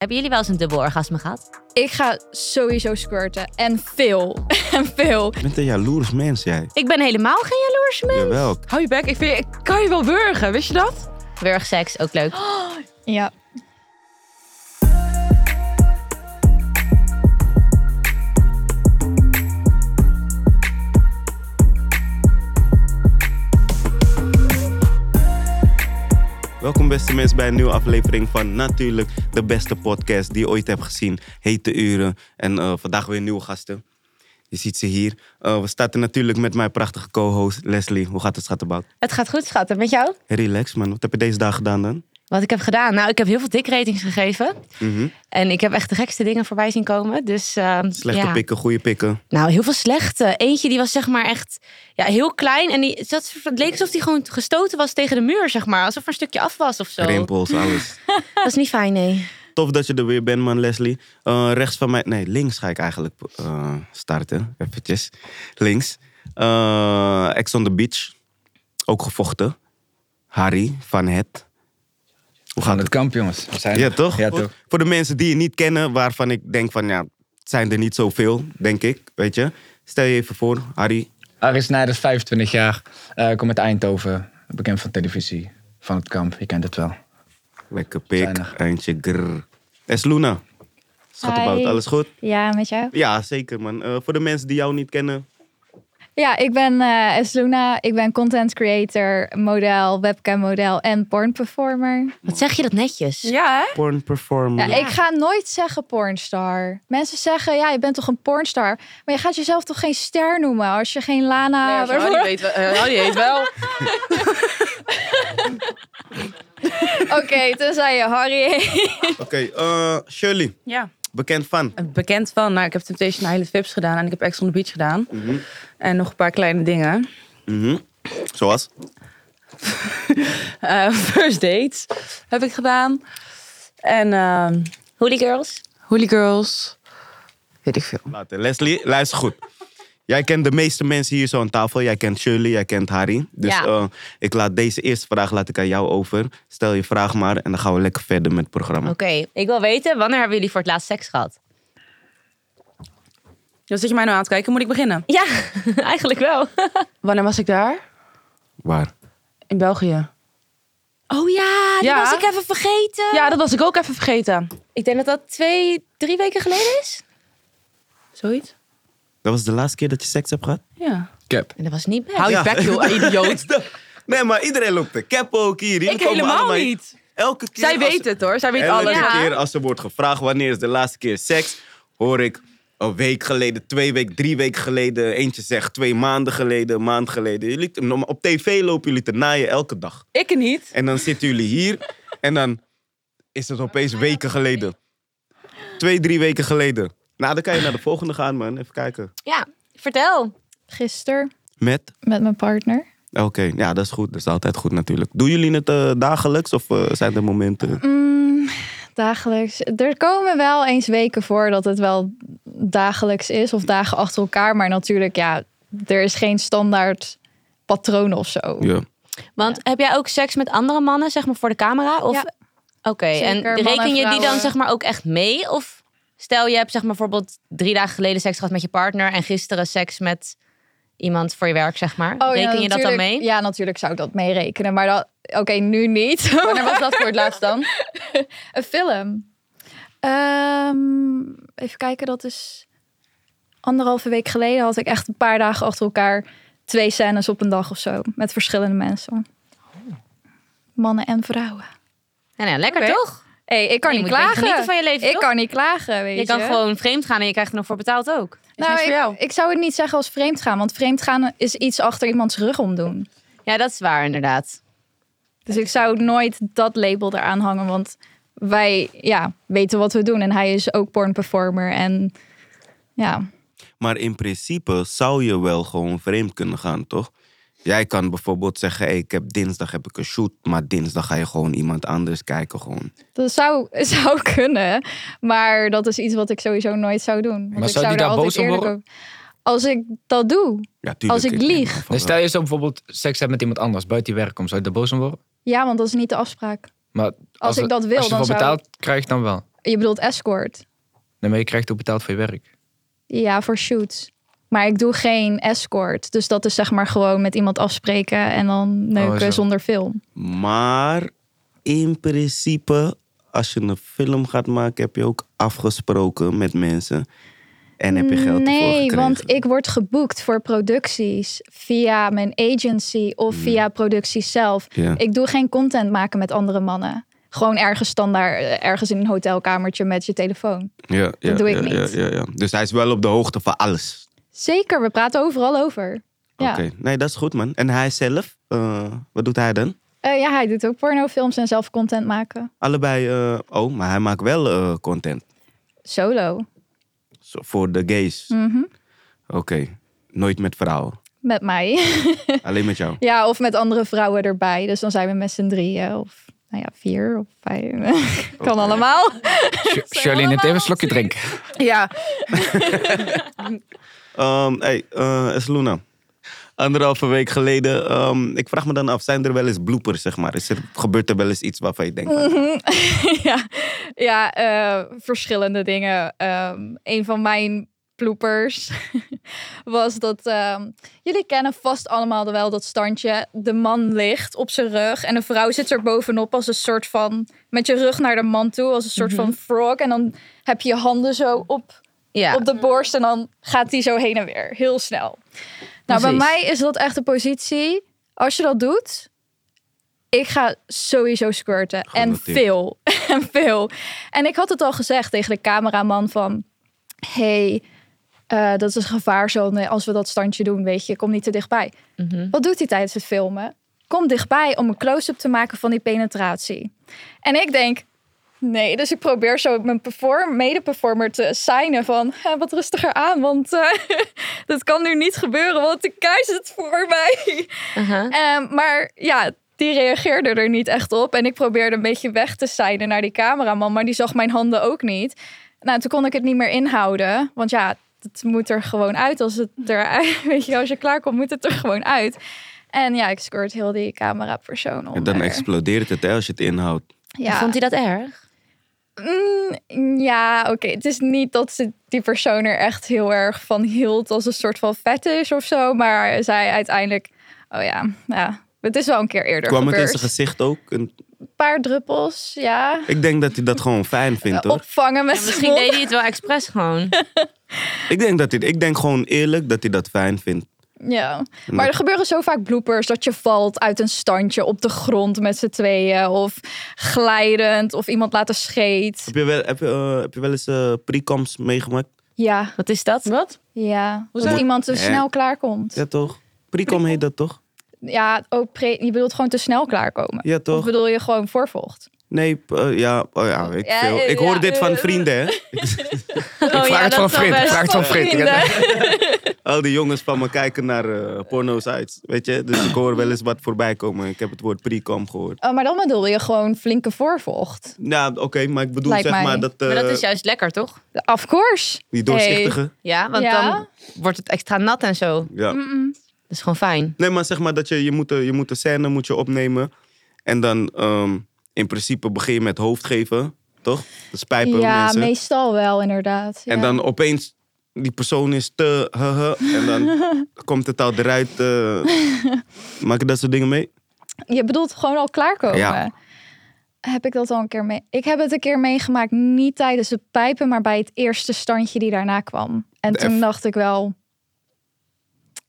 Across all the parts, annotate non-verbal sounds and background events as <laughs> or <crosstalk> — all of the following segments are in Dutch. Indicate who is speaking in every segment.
Speaker 1: Hebben jullie wel eens een dubbel orgasme gehad?
Speaker 2: Ik ga sowieso squirten. En veel. <laughs> en veel.
Speaker 3: Je bent een jaloers mens, jij.
Speaker 1: Ik ben helemaal geen jaloers meer.
Speaker 3: Jawel.
Speaker 4: Hou je bek, ik, vind, ik kan je wel burgen, wist je dat?
Speaker 1: Wurgseks, ook leuk.
Speaker 2: Ja.
Speaker 3: Welkom beste mensen bij een nieuwe aflevering van natuurlijk de beste podcast die je ooit hebt gezien. Hete uren en eh, vandaag weer nieuwe gasten. Je ziet ze hier. Eh, we starten natuurlijk met mijn prachtige co-host Leslie. Hoe gaat het, schattenbouw?
Speaker 1: <gasps> Het gaat goed, schat. En met jou?
Speaker 3: Relax man, wat heb je deze dag gedaan dan?
Speaker 1: Wat ik heb gedaan? Nou, ik heb heel veel dikratings gegeven.
Speaker 3: Mhm.
Speaker 1: En ik heb echt de gekste dingen voorbij zien komen. Dus, ehm,
Speaker 3: Slechte
Speaker 1: ja.
Speaker 3: pikken, goede pikken.
Speaker 1: Nou, heel veel slechte. Eentje die was zeg maar echt ja, heel klein. En die, dat, het leek alsof die gewoon gestoten was tegen de muur, zeg maar. Alsof er een stukje af was of zo.
Speaker 3: Rimpels, alles.
Speaker 1: Dat is niet fijn, nee.
Speaker 3: Tof dat je er weer bent, man, Leslie. Eh, rechts van mij, nee, links ga ik eigenlijk eh, starten. Eventjes. Links. Eh Ex on the Beach. Ook gevochten. Harry van het. Hoe
Speaker 5: Van
Speaker 3: gaat
Speaker 5: het
Speaker 3: het?
Speaker 5: kamp, jongens. We zijn
Speaker 3: Ja,
Speaker 5: er.
Speaker 3: toch?
Speaker 5: Ja,
Speaker 3: Voor-
Speaker 5: toch.
Speaker 3: Voor de mensen die je niet kennen, waarvan ik denk van ja, het zijn er niet zoveel, denk ik. Weet je? Stel je even voor, Harry.
Speaker 5: Aris Snijders, 25 jaar. Eh kom uit Eindhoven. Bekend van televisie. Van het kamp, je kent het wel.
Speaker 3: Lekker pik.
Speaker 5: Zuinig.
Speaker 3: Eindje grrr. Es Luna. Schattenbout,
Speaker 2: Hi.
Speaker 3: alles goed?
Speaker 2: Ja, met jou?
Speaker 3: Ja, zeker man. Eh, voor de mensen die jou niet kennen,
Speaker 2: Ja, ik ben eh Esluna. Ik ben content creator, model, webcam model en porn performer.
Speaker 1: Wat zeg je dat netjes?
Speaker 4: Ja, hè?
Speaker 3: porn performer.
Speaker 2: Ja, ik ga nooit zeggen pornstar. Mensen zeggen, ja, je bent toch een pornstar. Maar je gaat jezelf toch geen ster noemen als je geen Lana...
Speaker 4: Nee,
Speaker 2: waarvoor-
Speaker 4: Harry, weet, wel- eh, Harry heet <laughs> wel.
Speaker 2: <laughs> Oké, tenzij je Harry <laughs>
Speaker 3: Oké, eh, Shirley,
Speaker 4: Ja.
Speaker 3: bekend van.
Speaker 4: Bekend van, nou, ik heb Temptation Island Vips gedaan en ik heb Ex on the Beach gedaan.
Speaker 3: Mhm.
Speaker 4: En nog een paar kleine dingen.
Speaker 3: Mhm. Zoals?
Speaker 4: Eh, <laughs> first Dates heb ik gedaan. En ehm
Speaker 1: Holy girls?
Speaker 4: Holy Girls. Weet ik veel.
Speaker 3: Later. Leslie, luister goed. Jij kent de meeste mensen hier zo aan tafel. Jij kent Shirley, jij kent Harry. Dus
Speaker 1: Ja.
Speaker 3: eh, ik laat deze eerste vraag laat ik aan jou over. Stel je vraag maar en dan gaan we lekker verder met het programma.
Speaker 1: Oké, ik wil weten, wanneer hebben jullie voor het laatst seks gehad?
Speaker 4: Dus zit je mij nou aan te kijken, moet ik beginnen?
Speaker 1: Ja, <laughs> eigenlijk wel.
Speaker 4: Wanneer was ik daar?
Speaker 3: Waar?
Speaker 4: In België.
Speaker 1: Oh ja, die
Speaker 4: Ja.
Speaker 1: was ik even vergeten.
Speaker 4: Ja, dat was ik ook even vergeten.
Speaker 1: Ik denk dat dat twee, drie weken geleden is.
Speaker 4: Zoiets?
Speaker 3: Dat was de laatste keer dat je seks hebt gehad?
Speaker 4: Ja.
Speaker 5: Cap.
Speaker 1: En dat was niet best.
Speaker 4: Hou je
Speaker 3: Ja.
Speaker 4: bek,
Speaker 3: <laughs>
Speaker 4: joh, idioot.
Speaker 3: Nee, maar iedereen loopt de cap ook hier. Jullie
Speaker 4: ik
Speaker 3: komen
Speaker 4: helemaal
Speaker 3: allemaal-
Speaker 4: niet.
Speaker 3: Elke keer
Speaker 4: Zij
Speaker 3: als-
Speaker 4: weet het hoor, zij weet
Speaker 3: Elke
Speaker 4: alles.
Speaker 1: Ja.
Speaker 3: keer als er wordt gevraagd wanneer is de laatste keer seks, hoor ik een week geleden, twee weken, drie weken geleden. Eentje zegt twee maanden geleden, een maand geleden. Jullie, op tv lopen jullie te naaien elke dag.
Speaker 4: Ik niet.
Speaker 3: En dan zitten jullie hier en dan is het opeens weken geleden. Twee, drie weken geleden. Nou, dan kan je naar de volgende gaan, man. Even kijken.
Speaker 1: Ja, vertel.
Speaker 2: Gisteren
Speaker 3: Met?
Speaker 2: met mijn partner.
Speaker 3: Oké, ja, dat is goed. Dat is altijd goed natuurlijk. Doen jullie het eh, dagelijks of eh, zijn er momenten?
Speaker 2: Mm, dagelijks. Er komen wel eens weken voor dat het wel dagelijks is of dagen achter elkaar. Maar natuurlijk, ja, er is geen standaard patroon of zo.
Speaker 3: Ja.
Speaker 1: Want heb jij ook seks met andere mannen, zeg maar, voor de camera? Of...
Speaker 2: Ja.
Speaker 1: Oké, en
Speaker 2: Zeker, mannen en
Speaker 1: reken je die dan
Speaker 2: vrouwen.
Speaker 1: zeg maar ook echt mee? Of stel je hebt zeg maar bijvoorbeeld drie dagen geleden seks gehad met je partner... en gisteren seks met iemand voor je werk, zeg maar. reken je dat dan
Speaker 2: natuurlijk-
Speaker 1: mee?
Speaker 2: Oh Ja, natuurlijk zou ik dat meerekenen. Maar dat, oké, nu
Speaker 1: <laughs>
Speaker 2: niet.
Speaker 4: Wanneer was dat voor het laatst dan?
Speaker 2: <laughs> Een film. Ehm, even kijken, dat is anderhalve week geleden had ik echt een paar dagen achter elkaar twee scènes op een dag of zo. Met verschillende mensen.
Speaker 1: Oh.
Speaker 2: Mannen en vrouwen.
Speaker 1: Nou, ja, lekker
Speaker 2: Oké.
Speaker 1: toch?
Speaker 2: Hey, ik kan
Speaker 1: Je
Speaker 2: niet
Speaker 1: moet weer
Speaker 2: klagen.
Speaker 1: genieten van je leven,
Speaker 2: ik
Speaker 1: toch?
Speaker 2: kan niet klagen, weet
Speaker 1: Je
Speaker 2: je.
Speaker 1: kan gewoon vreemd gaan en je krijgt er nog voor betaald ook.
Speaker 2: Nou,
Speaker 4: niks voor
Speaker 2: ik,
Speaker 4: jou.
Speaker 2: ik zou het niet zeggen als vreemd gaan, want vreemd gaan is iets achter iemands rug omdoen.
Speaker 1: Ja, dat is waar inderdaad.
Speaker 2: Dus ik zou nooit dat label eraan hangen, want wij ja, weten wat we doen. En hij is ook pornperformer en ja.
Speaker 3: Maar in principe zou je wel gewoon vreemd kunnen gaan, toch? Jij kan bijvoorbeeld zeggen, hey, ik heb dinsdag heb ik een shoot, maar dinsdag ga je gewoon iemand anders kijken. Gewoon.
Speaker 2: Dat zou, <laughs> zou kunnen, maar dat is iets wat ik sowieso nooit zou doen. Want
Speaker 5: Maar
Speaker 2: ik
Speaker 5: zou die
Speaker 2: er
Speaker 5: daar
Speaker 2: altijd
Speaker 5: boos om
Speaker 2: eerlijk
Speaker 5: worden?
Speaker 2: over- Als ik dat doe,
Speaker 3: Ja, tuurlijk,
Speaker 2: Als ik
Speaker 3: neem
Speaker 2: lieg.
Speaker 3: aan van
Speaker 5: Nee, stel
Speaker 3: wel.
Speaker 5: je zo bijvoorbeeld seks hebt met iemand anders buiten je werk om, zou je daar boos om worden?
Speaker 2: ja, want dat is niet de afspraak.
Speaker 5: Maar als,
Speaker 2: ik dat wil,
Speaker 5: Als je
Speaker 2: dan
Speaker 5: ervoor
Speaker 2: zou-
Speaker 5: betaald krijgt, dan wel.
Speaker 2: Je bedoelt escort.
Speaker 6: Nee, maar je krijgt ook betaald voor je
Speaker 2: <laughs>
Speaker 6: werk.
Speaker 2: Ja, voor shoots. Maar ik doe geen escort. Dus dat is zeg maar gewoon met iemand afspreken en dan
Speaker 5: Oh,
Speaker 2: neuken
Speaker 6: zo.
Speaker 2: zonder film.
Speaker 3: Maar in principe, als je een film gaat maken, heb je ook afgesproken met mensen. En heb je geld ervoor
Speaker 2: nee,
Speaker 3: gekregen.
Speaker 2: want ik word geboekt voor producties via mijn agency of via producties zelf.
Speaker 3: Hmm. Ja.
Speaker 2: Ik doe geen content maken met andere mannen. Gewoon ergens standaard, eh, ergens in een hotelkamertje met je telefoon.
Speaker 3: Ja, ja,
Speaker 2: doe ik
Speaker 3: ja,
Speaker 2: niet.
Speaker 3: Ja, ja, ja. Dus hij is wel op de hoogte van alles.
Speaker 2: Zeker, we praten overal over. Ja.
Speaker 3: Oké, nee, dat is goed man. En hij zelf, eh, wat doet hij dan?
Speaker 2: Eh, ja, hij doet ook pornofilms en zelf content maken.
Speaker 3: Allebei, eh, oh, maar hij maakt wel eh, content
Speaker 2: Solo.
Speaker 3: Zo, voor de gays.
Speaker 2: Mhm.
Speaker 3: Oké, nooit met vrouwen,
Speaker 2: Met mij. <laughs>
Speaker 3: alleen met jou.
Speaker 2: Ja, of met andere vrouwen erbij. Dus dan zijn we met z'n drieën of nou ja, vier of vijf. <laughs> kan allemaal.
Speaker 6: Sh- Shirley, neem even een slokje drinken.
Speaker 4: Ja,
Speaker 3: Ehm hey, eh is Luna. Anderhalve week geleden, ehm, ik vraag me dan af, zijn er wel eens bloepers, zeg maar? Is er, gebeurt er wel eens iets waarvan je denkt,
Speaker 2: <laughs> ja, ja eh, verschillende dingen. Ehm, een van mijn bloepers <laughs> was dat... ehm, jullie kennen vast allemaal wel dat standje. De man ligt op zijn rug en een vrouw zit er bovenop als een soort van... Met je rug naar de man toe, als een soort
Speaker 1: Mhm.
Speaker 2: van frog. En dan heb je je handen zo op
Speaker 1: Ja.
Speaker 2: op de borst en dan gaat die zo heen en weer. Heel snel. Nou, bij
Speaker 1: Precies.
Speaker 2: mij is dat echt de positie. Als je dat doet, ik ga sowieso squirten. En
Speaker 3: Genoteerd.
Speaker 2: veel. <laughs> En veel. En ik had het al gezegd tegen de cameraman van... hey, eh, dat is een gevaarzone als we dat standje doen, weet je. Kom niet te dichtbij. Wat doet hij tijdens het filmen? Kom dichtbij om een close-up te maken van die penetratie. En ik denk, Nee, dus ik probeer zo mijn perform, mede-performer te signen van "Eh, wat rustiger aan, want eh, <laughs> dat kan nu niet gebeuren, want de kei zit voor mij.
Speaker 1: Aha.
Speaker 2: Ehm, maar ja, die reageerde er niet echt op en ik probeerde een beetje weg te signen naar die cameraman, maar die zag mijn handen ook niet. Nou, toen kon ik het niet meer inhouden, want ja, het moet er gewoon uit als het er, <laughs> weet je, als je klaar komt, moet het er gewoon uit. En ja, ik scoort heel die camerapersoon om.
Speaker 3: dan explodeert het hè, als je het inhoudt.
Speaker 2: ja.
Speaker 1: Vond hij dat erg?
Speaker 2: Mm, ja, oké. Het is niet dat ze die persoon er echt heel erg van hield als een soort van fetish of zo. Maar zij uiteindelijk, oh ja, ja. Het is wel een keer eerder
Speaker 3: Kwam het in
Speaker 2: gebeurd.
Speaker 3: zijn gezicht ook? En
Speaker 2: Een paar druppels, ja.
Speaker 3: ik denk dat hij dat gewoon fijn vindt, hoor.
Speaker 2: Opvangen met
Speaker 1: Ja,
Speaker 2: zijn
Speaker 1: misschien
Speaker 2: mond.
Speaker 1: deed hij het wel expres gewoon.
Speaker 3: Ik denk, dat hij, ik denk gewoon eerlijk dat hij dat fijn vindt.
Speaker 2: Ja. Maar er gebeuren zo vaak bloopers dat je valt uit een standje op de grond met z'n tweeën. Of glijdend, of iemand laten scheet.
Speaker 3: Heb je wel, heb je, eh, heb je wel eens eh precoms meegemaakt?
Speaker 2: Ja,
Speaker 1: <laughs> Wat is dat?
Speaker 4: wat?
Speaker 2: ja. Dat iemand te
Speaker 3: Nee.
Speaker 2: snel klaarkomt.
Speaker 3: Ja, toch? Precom heet dat toch?
Speaker 2: Ja, ook pre- je bedoelt gewoon te snel klaarkomen.
Speaker 3: Ja, toch?
Speaker 2: Of bedoel je gewoon voorvocht?
Speaker 3: Nee, eh, ja, oh, ja, weet ik
Speaker 2: Ja,
Speaker 3: veel.
Speaker 2: eh,
Speaker 3: Ik hoor
Speaker 2: ja,
Speaker 3: dit van
Speaker 2: eh,
Speaker 3: vrienden, hè?
Speaker 2: <laughs>
Speaker 1: Oh,
Speaker 6: vraag het van Frit. Ik vraag het van Frit.
Speaker 2: Oh, Vrienden.
Speaker 3: Al die jongens van me kijken naar eh porno sites, weet je? Dus ik hoor wel eens wat voorbij komen. Ik heb het woord precom gehoord.
Speaker 2: Oh, maar dan bedoel je gewoon flinke voorvocht.
Speaker 3: Nou, oké, maar ik bedoel
Speaker 2: Lijkt
Speaker 3: zeg
Speaker 2: mij.
Speaker 3: maar dat, eh,
Speaker 1: Maar dat is juist lekker, toch?
Speaker 2: Of course.
Speaker 3: die doorzichtige.
Speaker 1: Ja, want
Speaker 2: Ja.
Speaker 1: dan wordt het extra nat en zo.
Speaker 3: Ja.
Speaker 1: Dat is gewoon fijn.
Speaker 3: Nee, maar zeg maar dat je, je, moet, de- je moet de scène moet je opnemen. En dan ehm, in principe begin je met hoofd geven, toch? Dus pijpen
Speaker 2: ja,
Speaker 3: mensen.
Speaker 2: meestal wel inderdaad.
Speaker 3: En
Speaker 2: ja.
Speaker 3: dan opeens, die persoon is te... huh, huh, en dan
Speaker 2: <laughs>
Speaker 3: komt het al eruit. eh. maak je dat soort dingen mee?
Speaker 2: Je bedoelt gewoon al klaarkomen.
Speaker 3: Ja.
Speaker 2: Heb ik dat al een keer mee? Ik heb het een keer meegemaakt, niet tijdens de pijpen, maar bij het eerste standje die daarna kwam. En
Speaker 3: De
Speaker 2: toen
Speaker 3: F.
Speaker 2: dacht ik wel,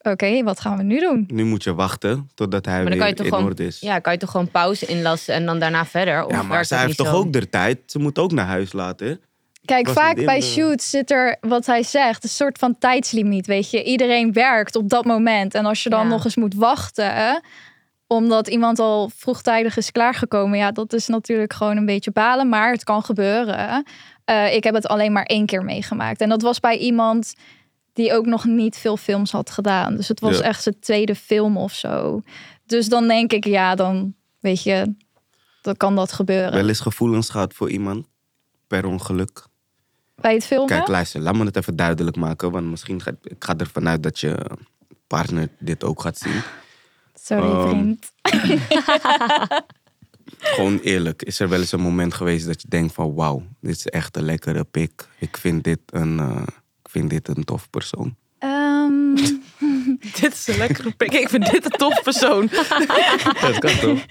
Speaker 2: oké, wat gaan we nu doen?
Speaker 3: Nu moet je wachten totdat hij
Speaker 1: Maar dan
Speaker 3: weer
Speaker 1: kan je toch
Speaker 3: in
Speaker 1: gewoon,
Speaker 3: orde is.
Speaker 1: ja, kan je toch gewoon pauze inlassen en dan daarna verder? Of
Speaker 3: Ja, maar
Speaker 1: werkt
Speaker 3: zij
Speaker 1: dat
Speaker 3: heeft
Speaker 1: niet
Speaker 3: toch
Speaker 1: zo?
Speaker 3: ook de tijd. Ze moet ook naar huis laten. hè?
Speaker 2: Kijk,
Speaker 3: Was
Speaker 2: vaak
Speaker 3: niet in
Speaker 2: bij
Speaker 3: de-
Speaker 2: shoots zit er, wat hij zegt, een soort van tijdslimiet. Weet je, iedereen werkt op dat moment. En als je dan
Speaker 1: Ja.
Speaker 2: nog eens moet wachten, hè, omdat iemand al vroegtijdig is klaargekomen, ja, dat is natuurlijk gewoon een beetje balen, maar het kan gebeuren. Eh, ik heb het alleen maar één keer meegemaakt. En dat was bij iemand die ook nog niet veel films had gedaan. Dus het was
Speaker 3: Ja.
Speaker 2: echt zijn tweede film of zo. Dus dan denk ik, ja, dan weet je, dan kan dat gebeuren.
Speaker 3: Wel eens gevoelens gehad voor iemand. Per ongeluk.
Speaker 2: Bij het filmen?
Speaker 3: Kijk, luister, laat me het even duidelijk maken. Want misschien ga ik ga ervan uit dat je
Speaker 1: <laughs>
Speaker 3: partner dit ook gaat zien.
Speaker 2: Sorry,
Speaker 3: Ehm,
Speaker 2: vriend.
Speaker 3: Gewoon eerlijk. Is er wel eens een moment geweest dat je denkt van wauw, dit is echt een lekkere pik. Ik vind dit een, eh, ik vind dit een
Speaker 1: <laughs>
Speaker 3: tof persoon. <laughs>
Speaker 2: Ehm,
Speaker 4: <laughs> Dit is een lekkere pik. Ik vind dit een tof persoon.
Speaker 3: Nou,
Speaker 5: <laughs>
Speaker 3: Dat kan toch?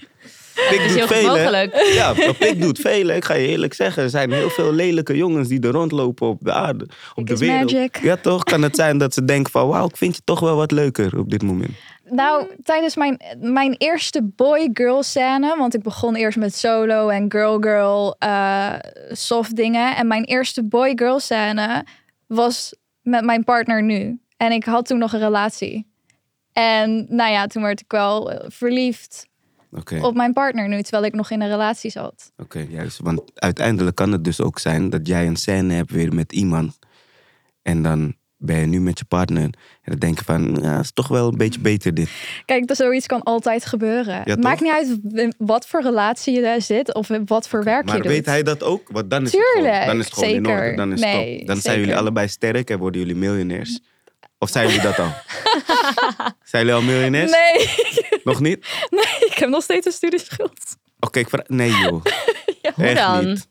Speaker 3: Pik
Speaker 1: is
Speaker 3: doet
Speaker 1: heel goed
Speaker 3: veel, hè?
Speaker 1: mogelijk.
Speaker 3: Ja, een pik doet veel. hè. Ik ga je eerlijk zeggen, er zijn heel veel lelijke jongens die er rondlopen op de aarde, op de
Speaker 2: is
Speaker 3: wereld.
Speaker 2: magic.
Speaker 3: Ja, toch? Kan het zijn dat ze denken van wauw, ik vind je toch wel wat leuker op dit moment.
Speaker 2: nou, tijdens mijn, mijn eerste boy-girl scène, want ik begon eerst met solo en girl-girl eh, soft dingen. En mijn eerste boy-girl scène was met mijn partner nu. En ik had toen nog een relatie. En nou ja, toen werd ik wel eh, verliefd
Speaker 3: Oké,
Speaker 2: op mijn partner nu, terwijl ik nog in een relatie zat.
Speaker 3: oké, juist. Want uiteindelijk kan het dus ook zijn dat jij een scène hebt weer met iemand. En dan ben je nu met je partner. En dan denk je van, ja, is toch wel een beetje beter dit.
Speaker 2: Kijk, dat zoiets kan altijd gebeuren.
Speaker 3: toch?
Speaker 2: Maakt niet uit in wat voor relatie je daar zit of in wat voor werk
Speaker 3: maar
Speaker 2: je doet.
Speaker 3: weet hij dat ook? Want dan is het
Speaker 2: Tuurlijk,
Speaker 3: gewoon, dan is het gewoon in
Speaker 2: zeker.
Speaker 3: orde. Dan, is het
Speaker 2: Nee,
Speaker 3: top. dan zijn
Speaker 2: zeker.
Speaker 3: jullie allebei sterk en worden jullie miljonairs. Of zijn jullie dat
Speaker 2: <laughs>
Speaker 3: al? zijn jullie al miljonairs?
Speaker 2: Nee, <laughs>
Speaker 3: Nog niet?
Speaker 2: ik heb nog steeds een studieschuld.
Speaker 3: Oké, ik vraag... Nee
Speaker 2: <laughs>
Speaker 3: joh.
Speaker 1: Hoe
Speaker 3: Echt
Speaker 1: dan?
Speaker 3: niet.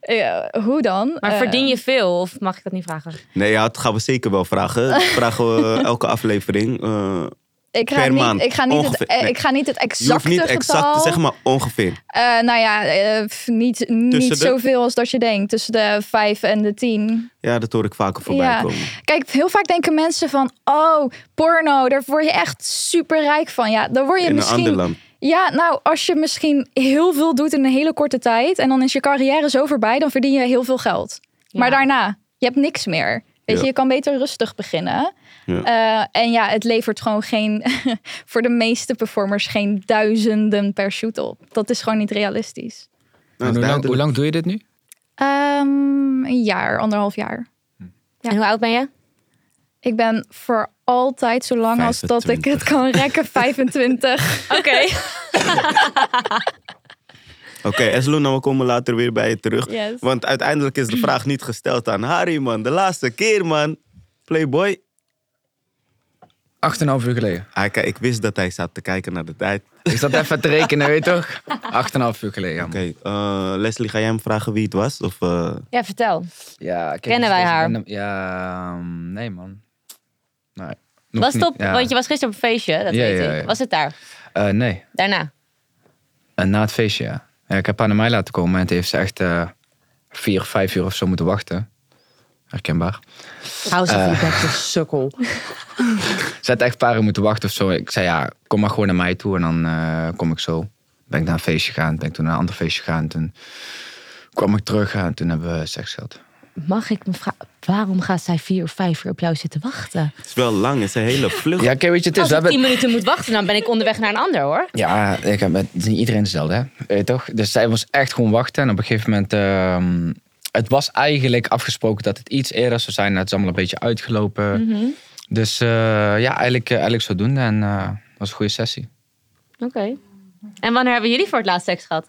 Speaker 2: Ja, hoe dan?
Speaker 1: Maar
Speaker 2: Eh,
Speaker 1: verdien je veel? Of mag ik dat niet vragen?
Speaker 3: Nee, ja, dat gaan we zeker wel
Speaker 2: <laughs>
Speaker 3: vragen. Dat vragen we elke aflevering. Eh,
Speaker 2: ik ga
Speaker 3: per
Speaker 2: niet,
Speaker 3: maand
Speaker 2: Ik ga niet,
Speaker 3: ongeveer-
Speaker 2: het, eh,
Speaker 3: nee.
Speaker 2: ik ga niet het
Speaker 3: je hoeft
Speaker 2: exacte
Speaker 3: niet exact,
Speaker 2: getal.
Speaker 3: zeg maar ongeveer.
Speaker 2: Eh, nou ja, eh, f- niet,
Speaker 3: de-
Speaker 2: niet zoveel als dat je denkt. Tussen de vijf en de tien.
Speaker 3: Ja, dat hoor ik vaker voorbij
Speaker 2: Ja.
Speaker 3: komen.
Speaker 2: Kijk, heel vaak denken mensen van... Oh, porno, daar word je echt superrijk van. Ja, daar word je
Speaker 3: In een
Speaker 2: misschien...
Speaker 3: ander land.
Speaker 2: Ja, nou, als je misschien heel veel doet in een hele korte tijd en dan is je carrière zo voorbij, dan verdien je heel veel geld. Maar daarna, je hebt niks meer. Weet
Speaker 3: Ja.
Speaker 2: je, je kan beter rustig beginnen.
Speaker 3: Ja.
Speaker 2: Eh, en ja, het levert gewoon geen, <laughs> voor de meeste performers, geen duizenden per shoot op. Dat is gewoon niet realistisch.
Speaker 3: Nou,
Speaker 6: En
Speaker 3: dat
Speaker 6: hoe, lang,
Speaker 3: is
Speaker 6: hoe
Speaker 3: duidelijk.
Speaker 6: lang doe je dit nu?
Speaker 2: Ehm, een jaar, anderhalf jaar. Ja.
Speaker 1: En hoe oud ben je?
Speaker 2: Ik ben voor altijd, zolang als dat ik het
Speaker 3: 25.
Speaker 2: kan
Speaker 3: <laughs>
Speaker 2: rekken, 25.
Speaker 1: Oké.
Speaker 3: Oké, Esluna, we komen later weer bij je terug.
Speaker 2: Yes.
Speaker 3: Want uiteindelijk is de vraag niet gesteld aan Harry, man. De laatste keer, man. Playboy.
Speaker 5: 8,5 uur geleden.
Speaker 3: Ah, kijk, ik wist dat hij zat te kijken naar de tijd. Oké,
Speaker 5: Ik zat even te rekenen, weet je
Speaker 2: <laughs>
Speaker 5: toch? 8,5 uur geleden, ja.
Speaker 3: eh,
Speaker 5: man.
Speaker 3: Leslie, ga jij hem vragen wie het was? Of, eh,
Speaker 1: Ja, vertel.
Speaker 5: Ja, kijk,
Speaker 1: Kennen
Speaker 5: dus
Speaker 1: wij
Speaker 5: deze
Speaker 1: haar?
Speaker 5: random- ja, mm, nee man. Nee, nog
Speaker 1: was het
Speaker 5: niet.
Speaker 1: op,
Speaker 5: Ja.
Speaker 1: want je was gisteren op een feestje, dat
Speaker 5: Ja,
Speaker 1: weet
Speaker 5: ja,
Speaker 1: ik.
Speaker 5: ja.
Speaker 1: Was het daar?
Speaker 5: Eh, nee,
Speaker 1: Daarna?
Speaker 5: Eh, na het feestje, ja. Ja, Ik heb haar naar mij laten komen en het heeft ze echt eh, vier, vijf uur of zo moeten wachten. Herkenbaar.
Speaker 1: Hou ze
Speaker 5: Eh.
Speaker 1: feedback.
Speaker 4: Sukkel.
Speaker 5: Ze had echt een paar uur moeten wachten of zo. Ik zei ja, kom maar gewoon naar mij toe en dan eh, kom ik zo. Ben ik naar een feestje gegaan, ben ik toen naar een ander feestje gegaan. Toen kwam ik terug en toen hebben we seks gehad.
Speaker 1: Mag ik me vragen, waarom gaat zij vier of vijf uur op jou zitten wachten?
Speaker 3: het is wel lang, het is een hele vlucht.
Speaker 5: Ja, kijk, weet je, het is...
Speaker 1: Als
Speaker 5: Dus we
Speaker 1: ik
Speaker 5: hebben-
Speaker 1: tien minuten moet wachten, dan ben ik onderweg naar een ander hoor.
Speaker 5: Ja, ik heb met, het is niet iedereen hetzelfde, hè? Weet je toch? Dus zij was echt gewoon wachten. En op een gegeven moment. ehm, het was eigenlijk afgesproken dat het iets eerder zou zijn. Het is allemaal een beetje uitgelopen.
Speaker 4: Mhm.
Speaker 5: Dus eh, ja, eigenlijk, eh, eigenlijk zodoende. En eh, het was een goede sessie.
Speaker 1: Oké. En wanneer hebben jullie voor het laatst seks gehad?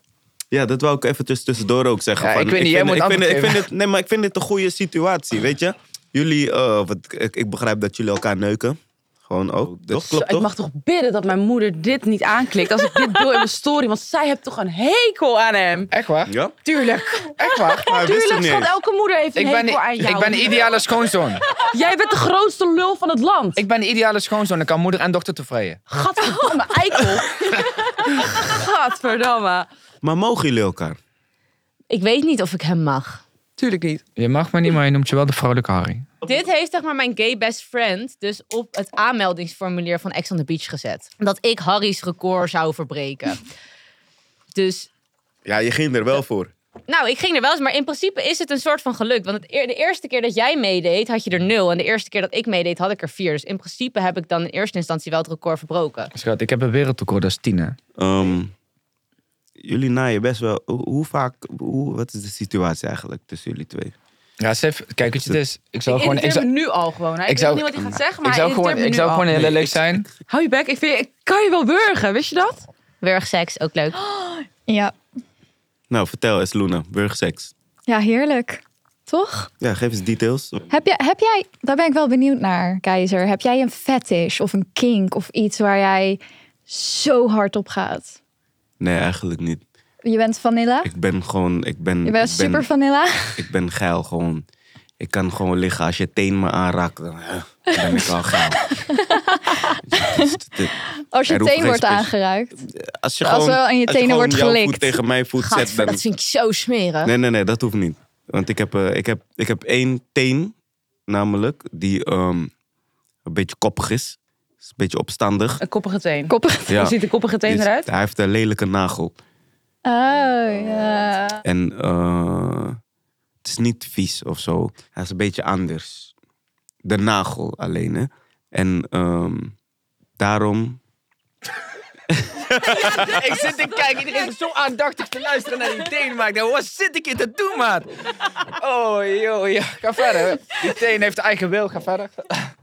Speaker 3: Ja, dat wou ik eventjes tussendoor ook zeggen.
Speaker 5: Ja,
Speaker 3: van,
Speaker 5: ik weet niet, jij
Speaker 3: vind,
Speaker 5: moet
Speaker 3: ik vind, ik
Speaker 5: antwoord
Speaker 3: vind het, Nee, maar ik vind dit een goede situatie, weet je. Jullie, eh, wat, ik, ik begrijp dat jullie elkaar neuken. Gewoon ook, dat klopt
Speaker 4: Ik
Speaker 3: toch?
Speaker 4: mag toch bidden dat mijn moeder dit niet aanklikt als ik dit doe in mijn story. Want zij heeft toch een hekel aan hem.
Speaker 5: Echt waar?
Speaker 3: Ja?
Speaker 5: Tuurlijk. Echt
Speaker 4: <laughs>
Speaker 5: waar?
Speaker 3: Maar hij wist het
Speaker 4: Tuurlijk,
Speaker 3: niet
Speaker 4: schat,
Speaker 3: eens.
Speaker 4: elke moeder heeft een
Speaker 5: Ik ben,
Speaker 4: hekel aan jou.
Speaker 5: ik ben de ideale schoonzoon.
Speaker 4: Jij bent de grootste lul van het land.
Speaker 5: Ik ben de ideale schoonzoon. Ik kan moeder en dochter tevreden.
Speaker 4: Gadverdamme, <laughs> eikel. Gadverdamme.
Speaker 3: Maar mogen jullie elkaar?
Speaker 1: Ik weet niet of ik hem mag.
Speaker 4: Tuurlijk niet.
Speaker 5: Je mag maar niet, maar je noemt je wel de vrouwelijke Harry.
Speaker 1: Dit heeft zeg maar mijn gay best friend dus op het aanmeldingsformulier van Ex on the Beach gezet. Dat ik Harry's record zou verbreken. Dus
Speaker 3: Ja, je ging er wel voor.
Speaker 1: Nou, ik ging er wel eens, maar in principe is het een soort van geluk. Want het eer- de eerste keer dat jij meedeed, had je er nul. En de eerste keer dat ik meedeed, had ik er vier. Dus in principe heb ik dan in eerste instantie wel het record verbroken.
Speaker 5: Schat, ik heb een wereldrecord, dat is tien. hè?
Speaker 3: Ehm, jullie naaien best wel. Hoe, hoe vaak, hoe, wat is de situatie eigenlijk tussen jullie twee?
Speaker 5: Ja, Sef, kijk wat je het is. Ik zou
Speaker 4: Ik
Speaker 5: gewoon. Ik
Speaker 4: irriteer
Speaker 5: zou,
Speaker 4: me nu al gewoon. hè. Ik,
Speaker 5: ik zou-
Speaker 4: weet niet wat hij gaat zeggen, maar
Speaker 5: ik zou
Speaker 4: hij irriteert
Speaker 5: gewoon, ik
Speaker 4: me
Speaker 5: zou
Speaker 4: nu
Speaker 5: gewoon
Speaker 4: al.
Speaker 5: heel leuk zijn.
Speaker 4: Hou je bek, ik, vind, ik kan je wel burgen, wist je dat?
Speaker 1: Wurgseks, ook leuk.
Speaker 2: Ja.
Speaker 3: Nou, vertel eens, Luna, burgseks.
Speaker 2: ja, heerlijk. Toch?
Speaker 3: Ja, geef eens details.
Speaker 2: Heb jij, heb jij, daar ben ik wel benieuwd naar, Keizer. Heb jij een fetish of een kink of iets waar jij zo hard op gaat?
Speaker 3: Nee, eigenlijk niet.
Speaker 2: Je bent vanilla.
Speaker 3: Ik ben gewoon, ik ben,
Speaker 2: Je bent
Speaker 3: ik ben,
Speaker 2: super vanilla.
Speaker 3: ik ben geil gewoon. Ik kan gewoon liggen. Als je teen me aanraakt, dan eh, ben ik al
Speaker 2: <laughs>
Speaker 3: geil.
Speaker 2: <laughs>
Speaker 3: Dus
Speaker 2: Als je
Speaker 3: Er hoeft
Speaker 2: teen
Speaker 3: geen
Speaker 2: wordt
Speaker 3: specie-
Speaker 2: aangeraakt.
Speaker 3: Als je
Speaker 2: Als
Speaker 3: gewoon,
Speaker 2: wel aan je
Speaker 3: als
Speaker 2: tenen
Speaker 3: je gewoon
Speaker 2: wordt
Speaker 3: jouw
Speaker 2: gelikt.
Speaker 3: voet tegen mijn voet zet,
Speaker 1: Gadver,
Speaker 3: dan
Speaker 1: dat vind ik zo smerig.
Speaker 3: Nee, nee, nee, dat hoeft niet. Want ik heb, eh, ik heb, ik heb één teen, namelijk, die ehm, een beetje koppig is. Is een beetje opstandig.
Speaker 4: Een koppige teen.
Speaker 2: Koppig.
Speaker 4: <laughs>
Speaker 3: Ja.
Speaker 4: Hoe ziet de koppige
Speaker 3: Die
Speaker 4: teen
Speaker 3: is-
Speaker 4: eruit?
Speaker 3: Hij heeft een lelijke nagel.
Speaker 2: Oh ja.
Speaker 3: En eh, het is niet vies of zo. Hij is een beetje anders. De nagel alleen, hè. En ehm, daarom...
Speaker 6: Ik zit te kijken, iedereen is zo aandachtig te luisteren naar die teen, maar ik denk, wat zit ik hier te doen, maat? Oh, joh, ja. Ga verder. Die teen heeft eigen wil, ga verder.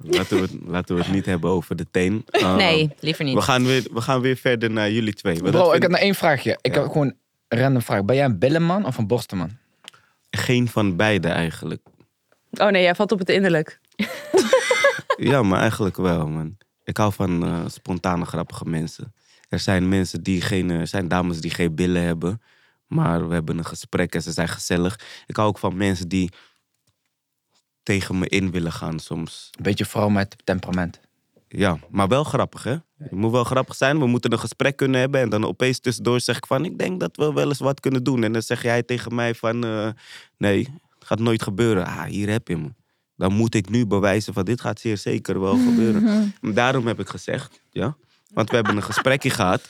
Speaker 3: Laten we, het- laten we het niet hebben over de teen. Eh,
Speaker 1: Nee, liever niet.
Speaker 3: We gaan, weer, we gaan weer verder naar jullie twee. want dat
Speaker 5: Bro, ik
Speaker 3: vind
Speaker 5: heb nog één vraagje. Ik
Speaker 3: Ja.
Speaker 5: heb gewoon een random vraag. Ben jij een billenman of een borstenman?
Speaker 3: ik geen van beide eigenlijk.
Speaker 4: Oh nee, jij valt op het innerlijk.
Speaker 3: Ja, maar eigenlijk wel, man. Ik hou van eh, spontane, grappige mensen. Er zijn mensen die geen, eh, er zijn dames die geen billen hebben. Maar we hebben een gesprek en ze zijn gezellig. Ik hou ook van mensen die tegen me in willen gaan soms.
Speaker 5: Een beetje vrouw met temperament.
Speaker 3: Ja, maar wel grappig, hè? Je moet wel grappig zijn. We moeten een gesprek kunnen hebben. En dan opeens tussendoor zeg ik van... ik denk dat we wel eens wat kunnen doen. En dan zeg jij tegen mij van... eh, nee, het gaat nooit gebeuren. Ah, hier heb je me. Dan moet ik nu bewijzen van... dit gaat zeer
Speaker 1: <laughs>
Speaker 3: zeker wel gebeuren. En Daarom heb ik gezegd, ja. Want we hebben een gesprekje gehad.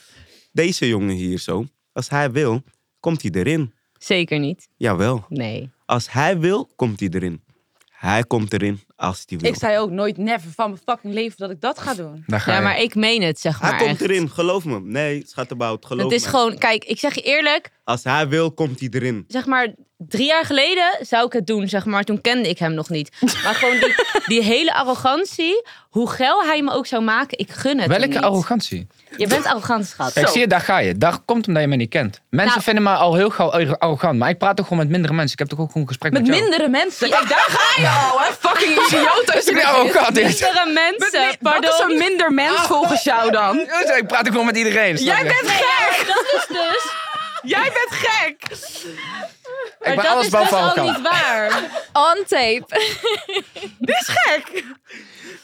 Speaker 3: Deze jongen hier zo, als hij wil, komt hij erin.
Speaker 1: Zeker niet.
Speaker 3: Jawel.
Speaker 1: Nee.
Speaker 3: Als hij wil, komt hij erin. Hij komt erin als hij wil.
Speaker 4: Ik zei ook nooit never van mijn fucking leven dat ik dat ga doen.
Speaker 5: Daar ga
Speaker 1: Ja,
Speaker 5: je.
Speaker 1: maar ik meen het, zeg maar.
Speaker 3: hij komt
Speaker 1: echt.
Speaker 3: erin, geloof me. Nee, schattenbout, geloof
Speaker 1: Het
Speaker 3: me.
Speaker 1: is gewoon, kijk, ik zeg je eerlijk,
Speaker 3: Als hij wil, komt hij erin.
Speaker 1: zeg maar, drie jaar geleden zou ik het doen, zeg maar. Toen kende ik hem nog niet. Maar gewoon
Speaker 2: <laughs>
Speaker 1: die, die hele arrogantie, hoe geil hij me ook zou maken, ik gun het hem
Speaker 5: Welke
Speaker 1: niet.
Speaker 5: arrogantie?
Speaker 1: Je bent arrogant, schat.
Speaker 5: Kijk, zie je, daar ga je. Daar komt omdat je me niet kent. Mensen
Speaker 1: Nou.
Speaker 5: vinden me al heel gauw arro- arrogant. Maar ik praat toch gewoon met mindere mensen. Ik heb toch ook gewoon een gesprek met,
Speaker 4: Met
Speaker 5: jou.
Speaker 4: mindere mensen. Kijk, daar ga je al, hè? Fucking idioot. als je
Speaker 5: Ik ben
Speaker 4: dat is.
Speaker 5: arrogant. Ik-
Speaker 1: Mindere mensen,
Speaker 4: Nee,
Speaker 1: pardon.
Speaker 4: Wat is een minder mens volgens jou dan?
Speaker 5: Ik praat ook gewoon met iedereen. snap je?
Speaker 4: Jij bent gek!
Speaker 1: Dat is dus,
Speaker 4: <laughs> Jij bent gek!
Speaker 1: maar
Speaker 5: ben
Speaker 1: dat
Speaker 5: alles
Speaker 1: is
Speaker 5: behalve
Speaker 1: dus al
Speaker 5: arrogant.
Speaker 1: niet waar.
Speaker 2: On tape.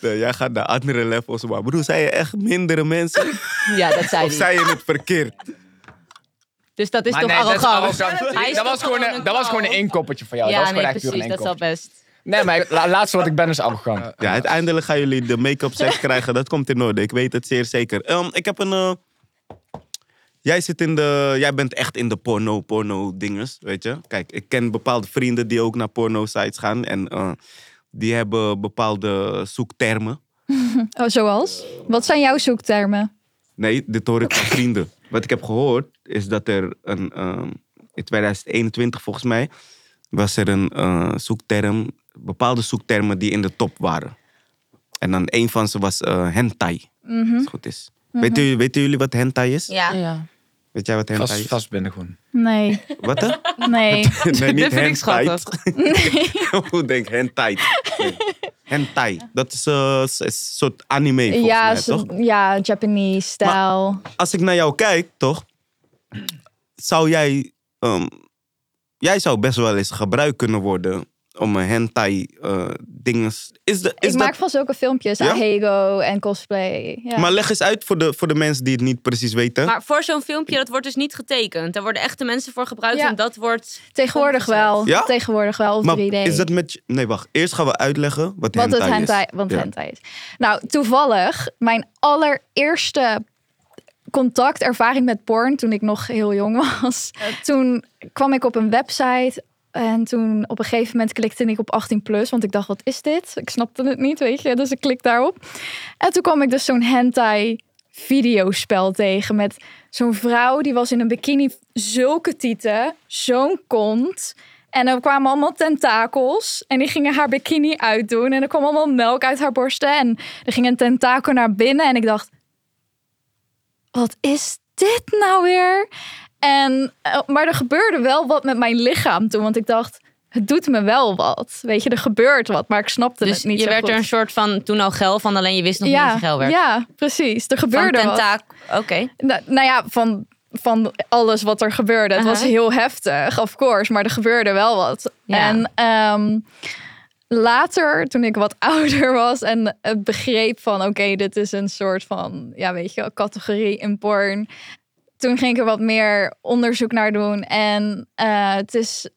Speaker 3: Nee, jij gaat naar andere levels, maar broer, zijn je echt mindere mensen? <laughs>
Speaker 1: Ja, dat zei
Speaker 3: Of
Speaker 1: hij.
Speaker 3: zei je het verkeerd?
Speaker 1: Dus dat is
Speaker 5: Maar
Speaker 1: toch
Speaker 5: nee, dat is
Speaker 1: arrogant?
Speaker 5: arrogant.
Speaker 1: Hij is
Speaker 5: Dat
Speaker 1: toch
Speaker 5: was gewoon
Speaker 1: gewoon
Speaker 5: een-
Speaker 1: een
Speaker 5: dat was
Speaker 1: clown.
Speaker 5: gewoon een inkoppertje voor jou. dat
Speaker 1: Ja,
Speaker 5: was
Speaker 1: nee,
Speaker 5: gewoon echt puur
Speaker 1: precies,
Speaker 5: een
Speaker 1: dat is al
Speaker 5: inkoppertje.
Speaker 1: best.
Speaker 5: Nee, maar ik- la- laatste wat ik ben is arrogant.
Speaker 3: Ja, uiteindelijk gaan jullie de make-up <laughs> seks krijgen. Dat komt in orde, ik weet het zeer zeker. Ehm, ik heb een... eh, Jij zit in de... Jij bent echt in de porno, porno dinges, weet je? Kijk, ik ken bepaalde vrienden die ook naar porno sites gaan. En eh, die hebben bepaalde zoektermen.
Speaker 2: Oh, zoals? Wat zijn jouw zoektermen?
Speaker 3: Nee, dit hoor ik van vrienden. Wat ik heb gehoord is dat er een, ehm, in 2021 volgens mij was er een eh, zoekterm, bepaalde zoektermen die in de top waren. En dan een van ze was eh, hentai, als het goed is. weten, jullie, weten jullie wat hentai is?
Speaker 1: Ja.
Speaker 3: Weet jij wat hentai
Speaker 5: Vast,
Speaker 3: is?
Speaker 5: vast binnen gewoon.
Speaker 2: Nee,
Speaker 4: <laughs>
Speaker 3: Wat hè? <laughs>
Speaker 2: nee.
Speaker 3: nee, niet
Speaker 4: Dit vind ik
Speaker 3: hentai.
Speaker 4: schattig.
Speaker 3: <laughs> Hoe denk hentai? Nee. Hentai, dat is, eh, is een soort anime volgens
Speaker 2: ja,
Speaker 3: mij,
Speaker 2: zo-
Speaker 3: toch?
Speaker 2: ja, Japanese stijl.
Speaker 3: als ik naar jou kijk, toch? Zou jij... ehm, jij zou best wel eens gebruikt kunnen worden om een hentai eh dinges... Is de, is
Speaker 2: ik
Speaker 3: dat,
Speaker 2: maak van zulke filmpjes.
Speaker 3: Ja?
Speaker 2: Ahego en cosplay. Ja.
Speaker 3: Maar leg eens uit voor de, voor de mensen die het niet precies weten.
Speaker 1: Maar voor zo'n filmpje, dat wordt dus niet getekend. Daar worden echte mensen voor gebruikt
Speaker 2: Ja.
Speaker 1: en dat wordt...
Speaker 2: Tegenwoordig wel.
Speaker 3: Ja?
Speaker 2: Tegenwoordig wel op
Speaker 3: Maar
Speaker 2: 3D.
Speaker 3: is dat met... je- Nee, wacht. Eerst gaan we uitleggen wat,
Speaker 2: wat
Speaker 3: hentai,
Speaker 2: het hentai,
Speaker 3: is.
Speaker 2: wat
Speaker 3: Ja.
Speaker 2: hentai is. Nou, toevallig, mijn allereerste contactervaring met porn toen ik nog heel jong was. Toen kwam ik op een website en toen op een gegeven moment klikte ik op 18 plus, want ik dacht wat is dit? Ik snapte het niet, weet je, dus ik klik daarop. En toen kwam ik dus zo'n hentai videospel tegen met zo'n vrouw die was in een bikini, zulke tieten, zo'n kont. En er kwamen allemaal tentakels en die gingen haar bikini uitdoen en er kwam allemaal melk uit haar borsten en er ging een tentakel naar binnen en ik dacht, wat is dit nou weer? En, eh, maar er gebeurde wel wat met mijn lichaam toen, want ik dacht, het doet me wel wat. Weet je, er gebeurt wat, maar ik snapte
Speaker 1: Dus
Speaker 2: het niet
Speaker 1: je
Speaker 2: zo
Speaker 1: werd
Speaker 2: goed.
Speaker 1: er een soort van toen al geil van, alleen je wist nog niet
Speaker 2: ja,
Speaker 1: dat je geil werd.
Speaker 2: ja, precies. Er
Speaker 1: Van
Speaker 2: gebeurde wat.
Speaker 1: tentaak. Oké.
Speaker 2: Nou, nou ja, van van alles wat er gebeurde. Het was
Speaker 1: Aha.
Speaker 2: heel heftig, of course, maar er gebeurde wel wat.
Speaker 1: Ja.
Speaker 2: En ehm, later, toen ik wat <laughs> ouder was en het begreep van... oké, dit is een soort van, ja, weet je wel, categorie in porn. Toen ging ik er wat meer onderzoek naar doen. En eh, het is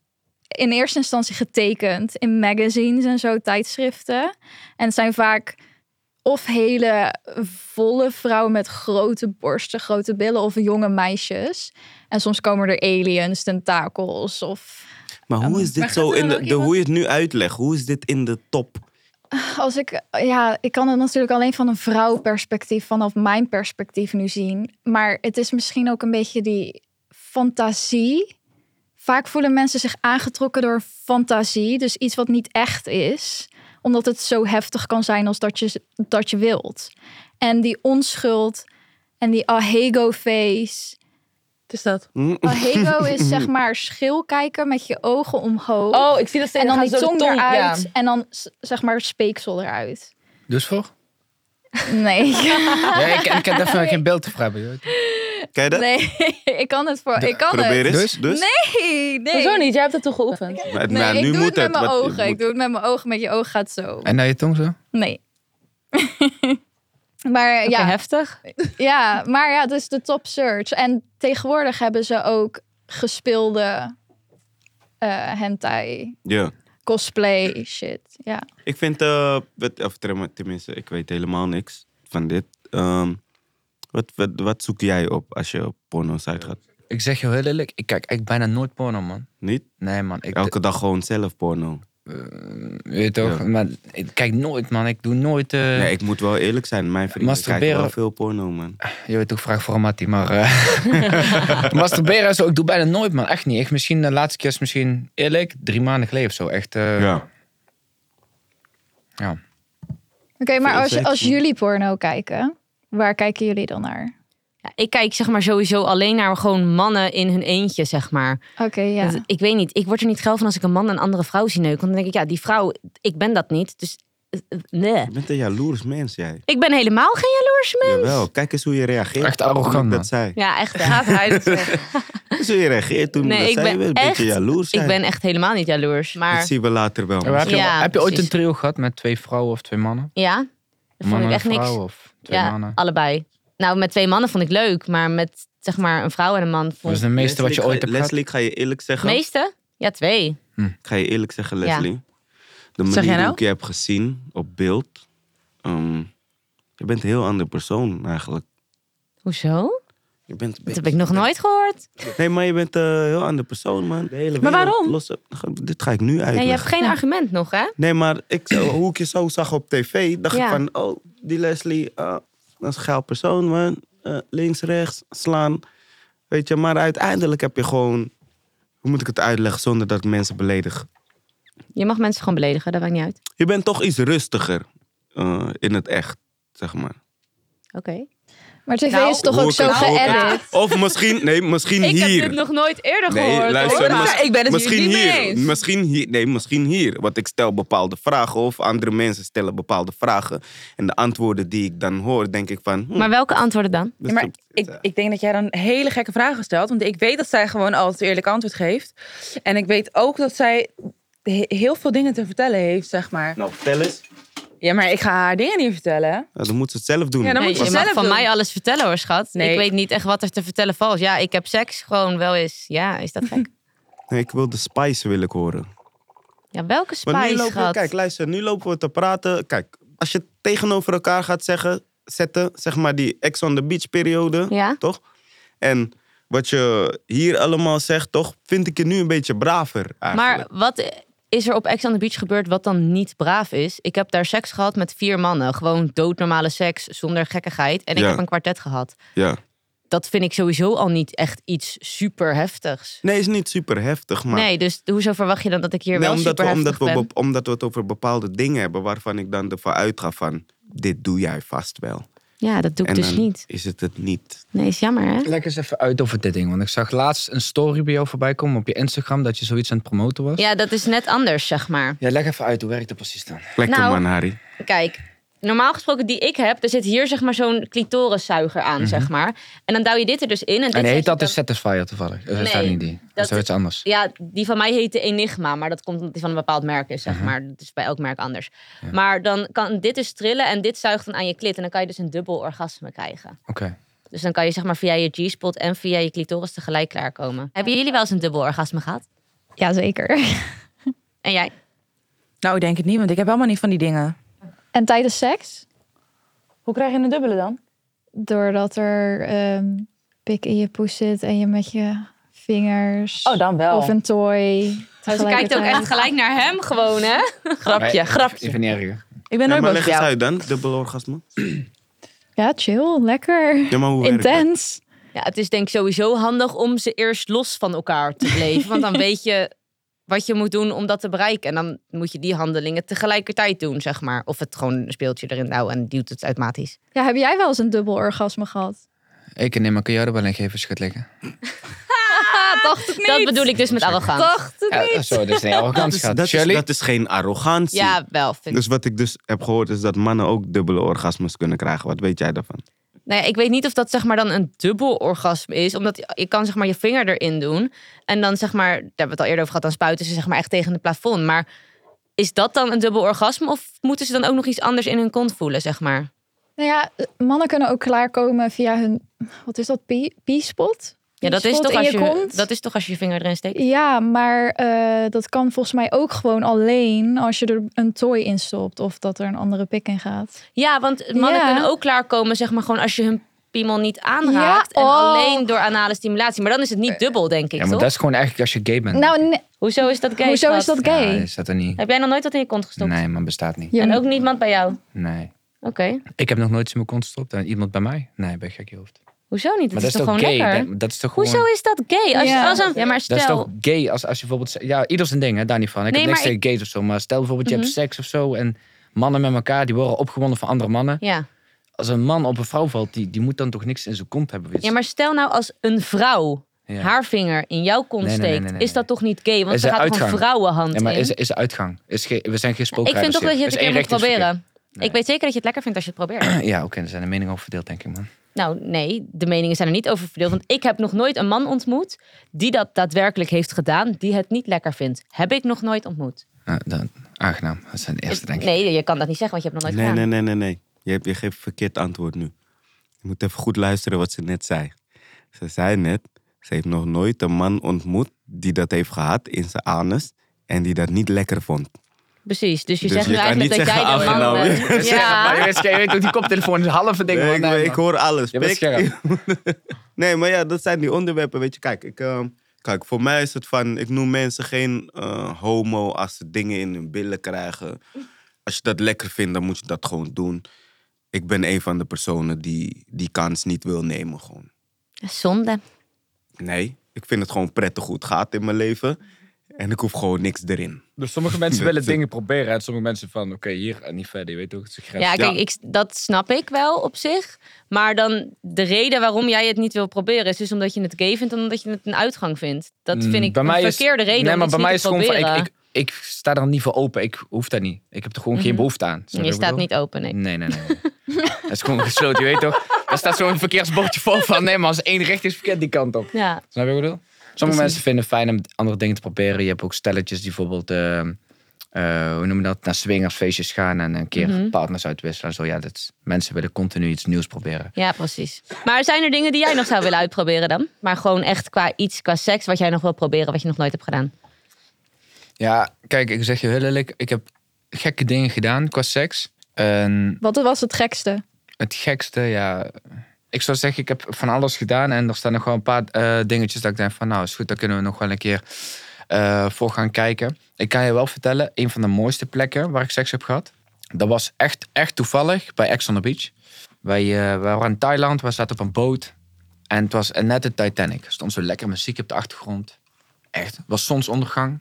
Speaker 2: in eerste instantie getekend in magazines en zo, tijdschriften. En het zijn vaak of hele volle vrouwen met grote borsten, grote billen of jonge meisjes. En soms komen er aliens, tentakels of...
Speaker 3: Maar
Speaker 2: Oh.
Speaker 3: hoe is dit
Speaker 4: maar
Speaker 3: zo
Speaker 4: gaat er
Speaker 3: in
Speaker 4: dan
Speaker 3: de,
Speaker 4: ook
Speaker 3: de-
Speaker 4: iemand-
Speaker 3: hoe je het nu uitlegt? Hoe is dit in de top?
Speaker 2: Als ik, ja, ik kan het natuurlijk alleen van een vrouwperspectief, vanaf mijn perspectief nu zien. Maar het is misschien ook een beetje die fantasie. Vaak voelen mensen zich aangetrokken door fantasie, dus iets wat niet echt is, omdat het zo heftig kan zijn als dat je, dat je wilt. En die onschuld en die <laughs> ahego-face.
Speaker 4: Het is dat.
Speaker 3: Hm?
Speaker 2: Ahego is zeg maar schil kijken met je ogen omhoog.
Speaker 4: Oh, ik zie dat steeds.
Speaker 2: en dan
Speaker 4: gaan
Speaker 2: die
Speaker 4: ze zo de
Speaker 2: tong, eruit
Speaker 4: ja.
Speaker 2: en dan s- zeg maar speeksel eruit.
Speaker 5: Dus voor?
Speaker 2: <laughs> Nee.
Speaker 5: Ja, ik, ik heb even geen beeld te vragen. joh.
Speaker 3: Ken je dat?
Speaker 2: Nee, <laughs> ik kan het voor. Ik kan
Speaker 3: Probeer
Speaker 2: het.
Speaker 3: eens.
Speaker 5: Dus?
Speaker 3: dus?
Speaker 2: Nee, <laughs> nee.
Speaker 4: Hoezo niet? Jij hebt dat toch geoefend?
Speaker 3: Maar,
Speaker 2: Nee,
Speaker 3: maar
Speaker 2: ik
Speaker 3: nu
Speaker 2: doe
Speaker 3: moet
Speaker 2: het met mijn
Speaker 3: want je
Speaker 2: ogen. Ik
Speaker 3: moet-
Speaker 2: doe het met mijn ogen. Met je oog gaat zo.
Speaker 5: En naar je tong zo?
Speaker 2: Nee. <laughs> maar
Speaker 1: ja,
Speaker 2: ja,
Speaker 1: heftig.
Speaker 2: ja, maar ja, dus de top search. En tegenwoordig hebben ze ook gespeelde eh, hentai
Speaker 3: Ja.
Speaker 2: cosplay shit. Ja.
Speaker 3: Ik vind, eh, wat- of tem- tenminste, ik weet helemaal niks van dit. Ehm, wat, wat, wat zoek jij op als je op porno-site gaat?
Speaker 5: Ik zeg je heel eerlijk, ik kijk echt bijna nooit porno, man.
Speaker 3: Niet?
Speaker 5: Nee, man. Ik,
Speaker 3: Elke dag gewoon zelf porno.
Speaker 5: Weet toch?
Speaker 3: Ja.
Speaker 5: Maar ik kijk nooit, man. Ik doe nooit. eh
Speaker 3: Nee, ik moet wel eerlijk zijn. Mijn vrienden kijken
Speaker 5: masturberen- Eh.
Speaker 3: wel veel porno, man.
Speaker 5: Je weet toch, vraag voor een Mattie, maar. eh,
Speaker 1: <laughs>
Speaker 5: <laughs> masturberen en zo, ik doe bijna nooit, man. Echt niet. Echt, misschien de laatste keer is misschien eerlijk, drie maanden geleden of zo. Echt. eh,
Speaker 3: Ja.
Speaker 5: ja.
Speaker 2: Oké, maar
Speaker 3: Veel
Speaker 2: als,
Speaker 3: seks,
Speaker 2: als
Speaker 3: man.
Speaker 2: jullie porno kijken, waar kijken jullie dan naar?
Speaker 1: Ja, ik kijk zeg maar sowieso alleen naar gewoon mannen in hun eentje, zeg maar.
Speaker 2: Oké, ja.
Speaker 1: Want ik weet niet, ik word er niet geil van als ik een man en een andere vrouw zie neuken. Want dan denk ik, ja, die vrouw, ik ben dat niet. Dus, eh, eh, nee.
Speaker 3: Je bent een jaloers mens, jij.
Speaker 1: Ik ben helemaal geen jaloers mens.
Speaker 3: Jawel, kijk eens hoe je reageert.
Speaker 5: Echt arrogant,
Speaker 3: Toen ik
Speaker 5: man.
Speaker 3: Dat zei.
Speaker 1: Ja, echt. Gaat hij
Speaker 3: Kijk eens hoe je reageert toen ik dat
Speaker 1: Nee, ik
Speaker 3: zei. Je
Speaker 1: ben
Speaker 3: bent een
Speaker 1: echt...
Speaker 3: beetje jaloers.
Speaker 1: <laughs> ik
Speaker 3: jij.
Speaker 1: ben echt helemaal niet jaloers.
Speaker 3: Dat
Speaker 1: Maar
Speaker 3: zien we later wel.
Speaker 5: heb, je,
Speaker 1: Ja,
Speaker 5: heb je ooit een
Speaker 1: precies.
Speaker 5: trio gehad met twee vrouwen of twee mannen?
Speaker 1: ja, dat vond
Speaker 5: mannen
Speaker 1: ik
Speaker 5: en
Speaker 1: echt niks.
Speaker 5: vrouwen of twee
Speaker 1: ja,
Speaker 5: mannen?
Speaker 1: allebei. Nou, met twee mannen vond ik leuk. Maar met zeg maar een vrouw en een man
Speaker 5: Dat
Speaker 1: vond
Speaker 5: is
Speaker 1: ik...
Speaker 5: Dus de meeste wat je
Speaker 3: Leslie,
Speaker 5: ooit
Speaker 3: ga-
Speaker 5: hebt gehad.
Speaker 3: Leslie, ik ga je eerlijk zeggen.
Speaker 1: Meeste? Ja, twee.
Speaker 3: Ik ga je eerlijk zeggen,
Speaker 1: Ja.
Speaker 3: Leslie. De
Speaker 4: Zeg
Speaker 3: manier
Speaker 4: jij nou?
Speaker 3: hoe ik je heb gezien op beeld. ehm, je bent een heel ander persoon eigenlijk.
Speaker 1: Hoezo?
Speaker 3: Je bent een
Speaker 1: Dat heb
Speaker 3: beetje-
Speaker 1: ik nog nooit gehoord.
Speaker 3: Nee, maar je bent eh, een heel ander persoon, man. De hele
Speaker 1: Maar
Speaker 3: wereld
Speaker 1: waarom?
Speaker 3: los- dit ga ik nu uitleggen.
Speaker 1: Nee, je hebt geen argument nog, hè?
Speaker 3: Nee, maar ik, zo- hoe ik je zo zag op tv, dacht
Speaker 1: Ja.
Speaker 3: ik van... Oh, die Leslie, ah, dat is een geil persoon, man. Eh, links, rechts, slaan. Weet je, maar uiteindelijk heb je gewoon... Hoe moet ik het uitleggen zonder dat ik mensen beledig?
Speaker 1: Je mag mensen gewoon beledigen, dat maakt niet uit.
Speaker 3: Je bent toch iets rustiger eh, in het echt, zeg maar.
Speaker 1: Oké.
Speaker 2: Maar tv
Speaker 1: Nou,
Speaker 2: is toch
Speaker 3: Hoe
Speaker 2: ook
Speaker 3: ik
Speaker 2: zo
Speaker 3: het- hoe ik het-
Speaker 2: geëdit?
Speaker 3: Of misschien, nee, misschien
Speaker 1: <laughs> Ik
Speaker 3: hier.
Speaker 1: heb dit nog nooit eerder
Speaker 3: Nee,
Speaker 1: gehoord.
Speaker 3: luister,
Speaker 1: hoor.
Speaker 4: maar-
Speaker 3: mis-
Speaker 4: Ik ben het hier
Speaker 3: misschien
Speaker 4: niet mee
Speaker 3: hier.
Speaker 4: eens.
Speaker 3: Misschien hier. Nee, misschien hier. Want ik stel bepaalde vragen of andere mensen stellen bepaalde vragen. En de antwoorden die ik dan hoor, denk ik van... hm,
Speaker 1: Maar welke antwoorden dan?
Speaker 3: dat
Speaker 4: Ja, maar
Speaker 3: is-
Speaker 4: ik, ik denk dat jij dan hele gekke vragen stelt. Want ik weet dat zij gewoon altijd eerlijk antwoord geeft. En ik weet ook dat zij he- heel veel dingen te vertellen heeft, zeg maar.
Speaker 3: Nou, vertel eens.
Speaker 4: Ja, maar ik ga haar dingen niet vertellen.
Speaker 3: Ja, dan moet ze het zelf doen.
Speaker 4: Ja, dan
Speaker 1: Nee,
Speaker 4: moet
Speaker 1: je
Speaker 4: zelf
Speaker 1: mag van
Speaker 4: doen.
Speaker 1: mij alles vertellen hoor, schat.
Speaker 4: Nee.
Speaker 1: Ik weet niet echt wat er te vertellen valt. Ja, ik heb seks gewoon wel eens. Ja, is dat
Speaker 3: <laughs>
Speaker 1: gek?
Speaker 3: Nee, ik wil de spice wil ik horen.
Speaker 1: ja, welke
Speaker 3: Maar nu
Speaker 1: spice,
Speaker 3: lopen we,
Speaker 1: schat?
Speaker 3: kijk, luister, nu lopen we te praten. Kijk, als je het tegenover elkaar gaat zeggen, zetten, zeg maar die ex on the beach periode,
Speaker 1: Ja.
Speaker 3: toch? En wat je hier allemaal zegt, toch, vind ik je nu een beetje braver eigenlijk.
Speaker 1: maar wat is er op Ex on the Beach gebeurd wat dan niet braaf is? Ik heb daar seks gehad met vier mannen. Gewoon doodnormale seks, zonder gekkigheid. En ik
Speaker 3: Ja.
Speaker 1: heb een kwartet gehad.
Speaker 3: ja.
Speaker 1: Dat vind ik sowieso al niet echt iets super heftigs.
Speaker 3: Nee, is niet super heftig, maar...
Speaker 1: Nee, dus hoezo verwacht je dan dat ik hier
Speaker 3: Nee,
Speaker 1: wel
Speaker 3: omdat,
Speaker 1: super
Speaker 3: we,
Speaker 1: heftig
Speaker 3: omdat, we,
Speaker 1: ben?
Speaker 3: be- omdat we het over bepaalde dingen hebben waarvan ik dan ervan uitga van... Dit doe jij vast wel.
Speaker 1: Ja, dat doe ik
Speaker 3: en
Speaker 1: dus
Speaker 3: dan
Speaker 1: niet.
Speaker 3: is het het niet.
Speaker 1: Nee, is jammer hè?
Speaker 5: Leg eens even uit over dit ding, want ik zag laatst een story bij jou voorbij komen op je Instagram dat je zoiets aan het promoten was.
Speaker 1: Ja, dat is net anders, zeg maar.
Speaker 5: Ja, leg even uit, hoe werkt dat precies dan?
Speaker 3: Lekker
Speaker 1: Nou,
Speaker 3: man, Harry.
Speaker 1: Kijk, normaal gesproken die ik heb, er zit hier zeg maar zo'n clitoriszuiger aan, zeg maar. En dan duw je dit er dus in. En, dit
Speaker 5: En
Speaker 1: zet je
Speaker 5: heet dat
Speaker 1: dan-
Speaker 5: de Satisfyer toevallig? Dat
Speaker 1: Nee,
Speaker 5: is daar niet die. Dat
Speaker 1: dat-
Speaker 5: is toch iets anders.
Speaker 1: Ja, die van mij heette Enigma, maar dat komt omdat die van een bepaald merk is, zeg maar. Dat is bij elk merk anders. Maar dan kan dit dus trillen en dit zuigt dan aan je klit. En dan kan je dus een dubbel orgasme krijgen.
Speaker 5: Oké.
Speaker 1: Dus dan kan je zeg maar via je G-spot en via je clitoris tegelijk klaarkomen. Hebben jullie wel eens een dubbel orgasme gehad?
Speaker 2: Jazeker. <laughs>
Speaker 1: En jij?
Speaker 4: Nou, ik denk het niet, want ik heb helemaal niet van die dingen.
Speaker 2: En tijdens seks?
Speaker 4: Hoe krijg je een dubbele dan?
Speaker 2: Doordat er ehm, pik in je poes zit en je met je vingers
Speaker 4: Oh, dan wel.
Speaker 2: of een toy.
Speaker 1: Ze kijkt ook
Speaker 2: tegelijkertijd.
Speaker 1: echt gelijk naar hem gewoon, hè?
Speaker 4: grapje,
Speaker 5: Nee,
Speaker 4: grapje.
Speaker 5: Ik vind het niet erger.
Speaker 4: Ik ben
Speaker 3: Ja, maar
Speaker 4: nooit boos
Speaker 3: leg
Speaker 4: op
Speaker 3: eens
Speaker 4: jou.
Speaker 3: uit dan, dubbel orgasme.
Speaker 2: Ja, chill, lekker,
Speaker 3: Ja, maar hoe werkt dat?
Speaker 2: intens.
Speaker 1: Ja, het is denk ik sowieso handig om ze eerst los van elkaar te blijven. Want
Speaker 2: <laughs>
Speaker 1: dan weet je wat je moet doen om dat te bereiken. En dan moet je die handelingen tegelijkertijd doen, zeg maar. Of het gewoon een speeltje erin nou en duwt het automatisch.
Speaker 2: Ja, heb jij wel eens een dubbel orgasme gehad?
Speaker 5: Ik neem maar kun jou er wel een geven als je gaat liggen.
Speaker 2: Ah, dacht ik niet.
Speaker 1: Dat bedoel ik dus met arrogant.
Speaker 2: Dacht het niet.
Speaker 5: Ja, zo, dat
Speaker 1: <laughs>
Speaker 5: is niet
Speaker 3: Dat
Speaker 5: arrogant
Speaker 3: is,
Speaker 5: schat.
Speaker 3: dat, is,
Speaker 5: Shirley?
Speaker 3: dat is geen arrogantie.
Speaker 1: Ja, wel. Vind ik.
Speaker 3: Dus wat ik dus heb gehoord is dat mannen ook dubbele orgasmes kunnen krijgen. Wat weet jij daarvan?
Speaker 1: Nou ja, ik weet niet of dat zeg maar dan een dubbel orgasme is. Omdat je kan zeg maar je vinger erin doen. En dan zeg maar, daar hebben we het al eerder over gehad. Dan spuiten ze zeg maar echt tegen het plafond. Maar is dat dan een dubbel orgasme? Of moeten ze dan ook nog iets anders in hun kont voelen, zeg maar?
Speaker 2: Nou ja, mannen kunnen ook klaarkomen via hun, wat is dat, P- P-spot?
Speaker 1: Ja, dat is,
Speaker 2: P-spot
Speaker 1: toch
Speaker 2: in
Speaker 1: als je,
Speaker 2: kont?
Speaker 1: dat is toch als je je vinger erin steekt?
Speaker 2: Ja, maar eh, dat kan volgens mij ook gewoon alleen als je er een toy in stopt of dat er een andere pik in gaat.
Speaker 1: Ja, want mannen
Speaker 2: Ja.
Speaker 1: kunnen ook klaarkomen, zeg maar, gewoon als je hun piemel niet aanraakt.
Speaker 2: Ja,
Speaker 1: En
Speaker 2: oh.
Speaker 1: alleen door anale stimulatie. Maar dan is het niet dubbel, denk ik,
Speaker 5: Eh, Ja, maar
Speaker 1: toch?
Speaker 5: dat is gewoon eigenlijk als je gay bent.
Speaker 2: Nou, nee,
Speaker 1: Hoezo is dat gay?
Speaker 2: hoezo is
Speaker 1: schat?
Speaker 2: dat gay?
Speaker 5: Ja, is dat er niet.
Speaker 1: Heb jij nog nooit wat in je kont gestopt?
Speaker 5: Nee, man, bestaat niet.
Speaker 2: Je-
Speaker 1: En ook niemand bij jou? Oké.
Speaker 5: Nee. Ik heb nog nooit in mijn kont gestopt. En iemand bij mij? Nee, ben je gek je hoofd.
Speaker 1: Hoezo niet? Dat,
Speaker 5: Maar
Speaker 1: is, toch
Speaker 5: ook
Speaker 1: gewoon
Speaker 5: gay?
Speaker 1: lekker?
Speaker 5: Dat, dat is toch
Speaker 1: Hoezo
Speaker 5: gewoon...
Speaker 1: is dat gay? Als,
Speaker 2: Ja.
Speaker 1: als een, ja, maar
Speaker 5: Dat is
Speaker 1: stel...
Speaker 5: toch gay als, als je bijvoorbeeld... se- Ja, ieder zijn ding, hè, daar niet van. Ik
Speaker 1: Nee,
Speaker 5: heb niks
Speaker 1: maar Mhm.
Speaker 5: tegen gays of zo. Maar stel bijvoorbeeld je hebt seks of zo. En mannen met elkaar, die worden opgewonden van andere mannen.
Speaker 1: Ja.
Speaker 5: Als een man op een vrouw valt, die, die moet dan toch niks in zijn kont hebben. weet je.
Speaker 1: ja, maar stel nou als een vrouw
Speaker 5: Ja.
Speaker 1: haar vinger in jouw kont
Speaker 5: Nee, nee, nee,
Speaker 1: steekt.
Speaker 5: nee, nee,
Speaker 1: Is dat toch niet gay? Want
Speaker 5: Is
Speaker 1: ze
Speaker 5: er
Speaker 1: gaat gewoon
Speaker 5: uitgang?
Speaker 1: vrouwenhand
Speaker 5: Ja, maar
Speaker 1: in.
Speaker 5: is, is de uitgang. Is ge- we zijn geen
Speaker 1: Nou, ik
Speaker 5: spookrijders
Speaker 1: vind toch dat je
Speaker 5: hier.
Speaker 1: het een
Speaker 5: Er
Speaker 1: keer
Speaker 5: is Nou
Speaker 1: moet
Speaker 5: één richtingsverkeer.
Speaker 1: proberen.
Speaker 5: Nee.
Speaker 1: Ik weet zeker dat je het lekker vindt als je het probeert. <clears throat>
Speaker 5: Ja, oké, er zijn de meningen over verdeeld, denk ik, man.
Speaker 1: Nou, nee, de meningen zijn er niet over verdeeld. Want ik heb nog nooit een man ontmoet die dat daadwerkelijk heeft gedaan, die het niet lekker vindt. Heb ik nog nooit ontmoet.
Speaker 5: Nou, dan, aangenaam. Dat zijn de eerste, denk ik.
Speaker 1: Nee, je kan dat niet zeggen, want je hebt nog nooit
Speaker 3: Nee, nee,
Speaker 1: gedaan.
Speaker 3: nee, nee, nee. Je, hebt, je geeft verkeerd antwoord nu. Je moet even goed luisteren wat ze net zei. Ze zei net, ze heeft nog nooit een man ontmoet die dat heeft gehad in zijn anus en die dat niet lekker vond.
Speaker 1: Precies, dus je
Speaker 3: Dus
Speaker 1: zegt
Speaker 3: je
Speaker 1: nu
Speaker 3: kan
Speaker 1: eigenlijk
Speaker 3: niet
Speaker 1: dat jij
Speaker 3: zeggen
Speaker 1: de
Speaker 5: "Ah,
Speaker 1: man
Speaker 5: nou,
Speaker 3: aangenaam. Je
Speaker 1: bent.
Speaker 5: <laughs> Maar je
Speaker 1: Ja,
Speaker 5: weet, je weet ook, die koptelefoon is een halve ding.
Speaker 3: Nee,
Speaker 5: man.
Speaker 3: ik,
Speaker 5: Nee,
Speaker 3: ik
Speaker 5: man.
Speaker 3: hoor alles.
Speaker 5: Je
Speaker 3: pik.
Speaker 5: bent scherp.
Speaker 3: <laughs> nee, maar ja, dat zijn die onderwerpen. Weet je, kijk, ik, ehm, kijk, voor mij is het van, ik noem mensen geen eh, homo als ze dingen in hun billen krijgen. Als je dat lekker vindt, dan moet je dat gewoon doen. Ik ben een van de personen die die kans niet wil nemen, gewoon.
Speaker 1: zonde.
Speaker 3: Nee, ik vind het gewoon prettig hoe het gaat in mijn leven. En ik hoef gewoon niks erin.
Speaker 5: Dus sommige mensen willen dingen proberen. En sommige mensen van, oké, hier en niet verder. Je weet toch, het is grens.
Speaker 1: Ja, kijk,
Speaker 3: Ja.
Speaker 1: ik, dat snap ik wel op zich. Maar dan de reden waarom jij het niet wil proberen is dus omdat je het gay vindt en omdat je het een uitgang vindt. Dat vind ik
Speaker 5: Mm, Bij mij
Speaker 1: een
Speaker 5: is-
Speaker 1: verkeerde reden.
Speaker 5: Nee,
Speaker 1: om
Speaker 5: maar
Speaker 1: iets
Speaker 5: bij mij
Speaker 1: niet
Speaker 5: is
Speaker 1: te
Speaker 5: gewoon van,
Speaker 1: proberen. Mhm.
Speaker 5: ik, ik, ik sta er niet voor open. Ik hoef dat niet. Ik heb er gewoon geen behoefte aan. Snap je wat
Speaker 1: je
Speaker 5: ik
Speaker 1: staat
Speaker 5: bedoel?
Speaker 1: niet open, nee.
Speaker 5: Nee, nee, nee. nee. <laughs> dat is gewoon gesloten, je weet toch? Daar staat zo'n verkeersbordje voor van, nee, maar als één richtingsverkeer die kant op.
Speaker 1: Ja,
Speaker 5: Snap je wat ik bedoel? Sommige mensen vinden het fijn om andere dingen te proberen. Je hebt ook stelletjes die bijvoorbeeld, eh, eh, hoe noem je dat, naar swingersfeestjes gaan en een keer
Speaker 1: Mhm.
Speaker 5: partners uitwisselen. en Zo, ja, dat is- mensen willen continu iets nieuws proberen.
Speaker 1: Ja, precies. Maar zijn er dingen die jij nog zou willen uitproberen dan? Maar gewoon echt qua iets, qua seks, wat jij nog wil proberen, wat je nog nooit hebt gedaan.
Speaker 5: Ja, kijk, ik zeg je heel eerlijk, ik heb gekke dingen gedaan qua seks. En
Speaker 2: Wat was het gekste?
Speaker 5: het gekste, ja, ik zou zeggen, ik heb van alles gedaan en er staan nog wel een paar eh, dingetjes dat ik denk van, nou is goed, daar kunnen we nog wel een keer eh, voor gaan kijken. Ik kan je wel vertellen, een van de mooiste plekken waar ik seks heb gehad, dat was echt, echt toevallig bij Ex on the Beach. Wij, eh, wij waren in Thailand, we zaten op een boot en het was net de Titanic. Er stond zo lekker muziek op de achtergrond. Echt, het was zonsondergang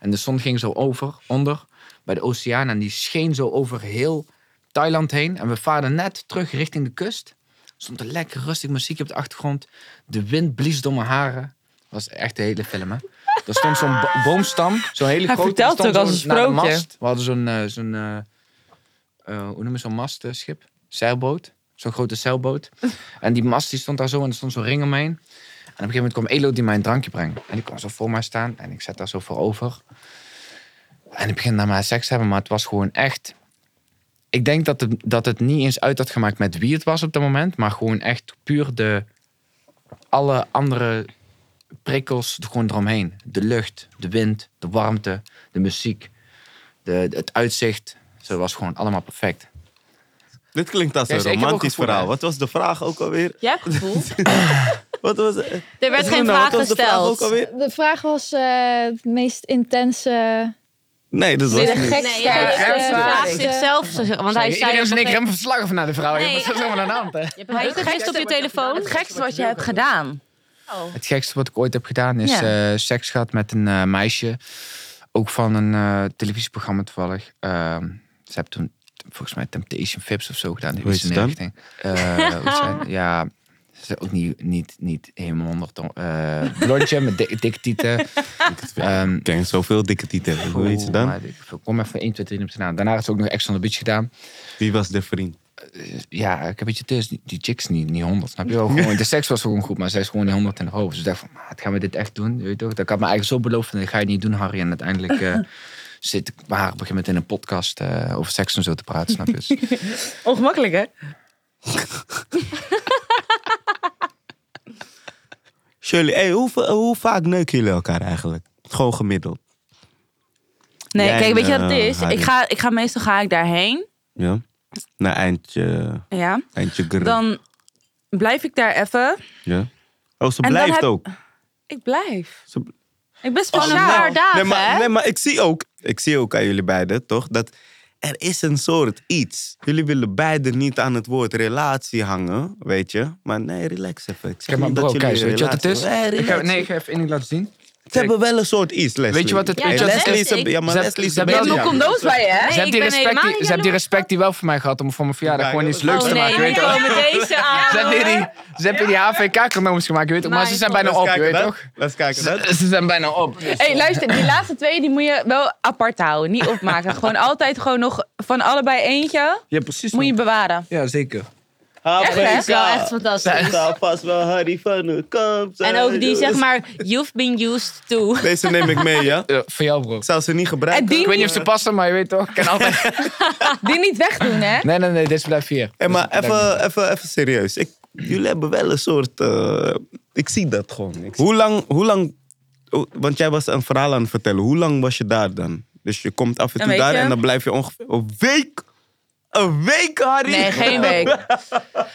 Speaker 5: en de zon ging zo over, onder bij de oceaan en die scheen zo over heel Thailand heen. En we vaarden net terug richting de kust. Stond er lekker rustig muziek op de achtergrond. De wind blies door mijn haren. was echt de hele film, hè. Er stond zo'n bo- boomstam, zo'n hele
Speaker 4: Hij
Speaker 5: grote. die
Speaker 4: vertelt
Speaker 5: stond
Speaker 4: ook als
Speaker 5: zo
Speaker 4: een
Speaker 5: naar de
Speaker 4: sprookje.
Speaker 5: mast. We hadden zo'n... eh, zo'n eh, eh, hoe noem je zo'n mastschip? Zeilboot. Zo'n grote
Speaker 4: <laughs>
Speaker 5: zeilboot. en die mast die stond daar zo en er stond zo'n ring omheen. En op een gegeven moment kwam Elo die mij een drankje brengt. En die kwam zo voor mij staan en ik zat daar zo voor over. En ik begin naar mij seks te hebben, maar het was gewoon echt. Ik denk dat het, dat het niet eens uit had gemaakt met wie het was op dat moment, maar gewoon echt puur de. alle andere prikkels er gewoon eromheen. De lucht, de wind, de warmte, de muziek, de, het uitzicht. Zo was gewoon allemaal perfect.
Speaker 3: Dit klinkt als
Speaker 5: Ja,
Speaker 3: een
Speaker 5: dus ik heb ook
Speaker 3: romantisch
Speaker 5: gevoel,
Speaker 3: verhaal.
Speaker 5: hè.
Speaker 3: Wat was de vraag ook alweer?
Speaker 1: Jij hebt gevoel.
Speaker 3: Wat was, eh,
Speaker 1: <laughs> Er werd geen
Speaker 3: Luna,
Speaker 1: vraag
Speaker 3: wat was de vraag ook
Speaker 1: gesteld.
Speaker 3: alweer?
Speaker 2: De vraag was eh, het meest intense...
Speaker 3: Nee, dat was
Speaker 4: Nee, de
Speaker 3: niet.
Speaker 4: gek-
Speaker 1: Nee,
Speaker 4: Ja,
Speaker 1: jij
Speaker 4: ervaren.
Speaker 1: vraagt zichzelf. zo zeggen, Want hij
Speaker 5: Iedereen
Speaker 1: zei... dus
Speaker 5: is in één keer
Speaker 1: Je
Speaker 5: helemaal verslagen van naar de vrouw.
Speaker 1: Nee. eh,
Speaker 5: Wat is er allemaal aan de hand, hè?
Speaker 1: hebt een leuke gist op je telefoon.
Speaker 4: Het
Speaker 3: <laughs>
Speaker 4: gekste wat je hebt gedaan.
Speaker 5: Het gekste wat ik ooit heb gedaan is
Speaker 4: Ja.
Speaker 5: eh, seks gehad met een eh, meisje. Ook van een eh, televisieprogramma toevallig. Ehm, ze hebben toen volgens mij Temptation Vips of zo gedaan. Die
Speaker 3: Hoe heet
Speaker 5: is in
Speaker 3: ze
Speaker 5: die
Speaker 3: dan?
Speaker 5: richting. Eh, hoe zijn- ja, ze is ook niet, niet, niet helemaal onder... eh blondje met dik- dikke tieten. Ehm,
Speaker 3: Ik ken zoveel dikke titel. Hoe heet ze
Speaker 5: oeh,
Speaker 3: dan?
Speaker 5: maar ik Kom even 1, 2, 3 op de naam. Daarna heeft ze ook nog extra on the Beach gedaan.
Speaker 3: Wie was de vriend?
Speaker 5: Ja, ik heb beetje tussen. Die chicks niet, niet 100,
Speaker 3: <laughs>
Speaker 5: snap je wel? Gewoon, de seks was gewoon goed, maar zij is gewoon niet 100 in de hoofd. Dus ik dacht van, maat, gaan we dit echt doen? Weet je toch? Dat ik had me eigenlijk zo beloofd, en dat ga je niet doen, Harry. En
Speaker 3: <laughs>
Speaker 5: uiteindelijk eh, zit ik maar op een gegeven moment in een podcast eh, over seks en zo te praten, snap je?
Speaker 3: <laughs>
Speaker 5: Dus
Speaker 4: Ongemakkelijk, hè?
Speaker 3: Shirley, hey, hoe, hoe vaak neuken jullie elkaar eigenlijk? Gewoon gemiddeld.
Speaker 4: Nee,
Speaker 3: Jij
Speaker 4: kijk,
Speaker 3: en,
Speaker 4: weet je wat het
Speaker 3: eh,
Speaker 4: is?
Speaker 3: Harry.
Speaker 4: Ik ga, ik ga meestal ga ik daarheen.
Speaker 3: Ja? Na eindje,
Speaker 4: Ja.
Speaker 3: eindje grun.
Speaker 4: Dan blijf ik daar even.
Speaker 3: Ja? Oh, ze
Speaker 4: dan
Speaker 3: blijft
Speaker 4: heb-
Speaker 3: ook.
Speaker 4: Ik blijf.
Speaker 3: Ze-
Speaker 5: Oh,
Speaker 4: Ik ben
Speaker 1: Van een
Speaker 4: speciaal.
Speaker 1: paar dagen,
Speaker 3: nee, maar,
Speaker 1: hè?
Speaker 3: nee, maar ik zie ook, ik zie ook aan jullie beiden, toch? Dat er is een soort iets. Jullie willen beiden niet aan het woord relatie hangen, weet je? Maar nee, relax even. Ik zeg
Speaker 5: Kijk maar,
Speaker 3: niet dat
Speaker 5: bro,
Speaker 3: jullie
Speaker 5: Kees,
Speaker 3: een
Speaker 5: weet je wat het is?
Speaker 3: relatie hebben.
Speaker 5: Ik
Speaker 3: Nee,
Speaker 5: ga,
Speaker 3: relax.
Speaker 5: nee, ik ga even één ding laten zien.
Speaker 3: Ze hebben wel een soort iets, Leslie.
Speaker 5: Weet je wat het-
Speaker 1: weet je wat het
Speaker 3: Leslie
Speaker 1: is?
Speaker 3: is een- Ja, maar
Speaker 5: Ze-
Speaker 3: Leslie is
Speaker 5: ze
Speaker 3: een
Speaker 5: hebben
Speaker 3: beetje-
Speaker 5: wel een
Speaker 4: Condooms bij je, hè?
Speaker 5: ze hebben
Speaker 1: ik
Speaker 5: die
Speaker 1: ben
Speaker 5: respect,
Speaker 1: helemaal
Speaker 5: die,
Speaker 1: niet
Speaker 5: ze hebben die
Speaker 1: jaloers.
Speaker 5: respect die wel voor mij gehad om voor mijn verjaardag
Speaker 3: Ja,
Speaker 5: gewoon
Speaker 3: joh,
Speaker 5: iets
Speaker 3: dat
Speaker 5: leuks
Speaker 3: is-
Speaker 5: te
Speaker 1: Oh
Speaker 5: maken,
Speaker 1: nee,
Speaker 5: weet
Speaker 1: hier
Speaker 5: je toch?
Speaker 1: komen deze aan.
Speaker 5: <laughs> Ze hebben hier die, ze hebben hier die HVK-condooms gemaakt, weet je toch? Maar ze zijn
Speaker 1: Mijn
Speaker 5: bijna
Speaker 3: Laat
Speaker 5: op, je weet
Speaker 3: kijken,
Speaker 5: toch?
Speaker 3: dat. Laat kijken, dat.
Speaker 5: <laughs> Ze zijn bijna op.
Speaker 4: hey, luister, die laatste twee die moet je wel apart houden. Niet <laughs> opmaken. gewoon altijd gewoon nog van allebei eentje
Speaker 5: Ja, precies.
Speaker 4: moet je bewaren.
Speaker 5: Ja, zeker.
Speaker 3: Echt,
Speaker 1: Dat is wel echt fantastisch.
Speaker 3: zou vast wel Harry van de Kamp zijn.
Speaker 1: En ook die, zeg
Speaker 3: jongens.
Speaker 1: maar, you've been used to.
Speaker 3: Deze neem ik mee, ja?
Speaker 5: Ja, voor jou, bro.
Speaker 3: Ik zou ze niet gebruiken.
Speaker 4: En die,
Speaker 5: Ik weet niet of ze passen, maar je weet toch, ik kan altijd...
Speaker 4: <laughs> die niet wegdoen, hè?
Speaker 5: Nee, nee, nee, dit blijft hier.
Speaker 3: Hey, maar
Speaker 5: Dit blijft hier.
Speaker 3: even, even, even serieus. Ik, jullie hebben wel een soort... eh, ik zie dat gewoon. Ik zie- Hoe lang... Hoe lang oh, want jij was een verhaal aan het vertellen. Hoe lang was je daar dan? Dus je komt af en
Speaker 4: Een
Speaker 3: toe daar
Speaker 4: weekje.
Speaker 3: en dan blijf je ongeveer een week. Een week, Harry.
Speaker 4: Nee,
Speaker 5: <laughs>
Speaker 4: geen week.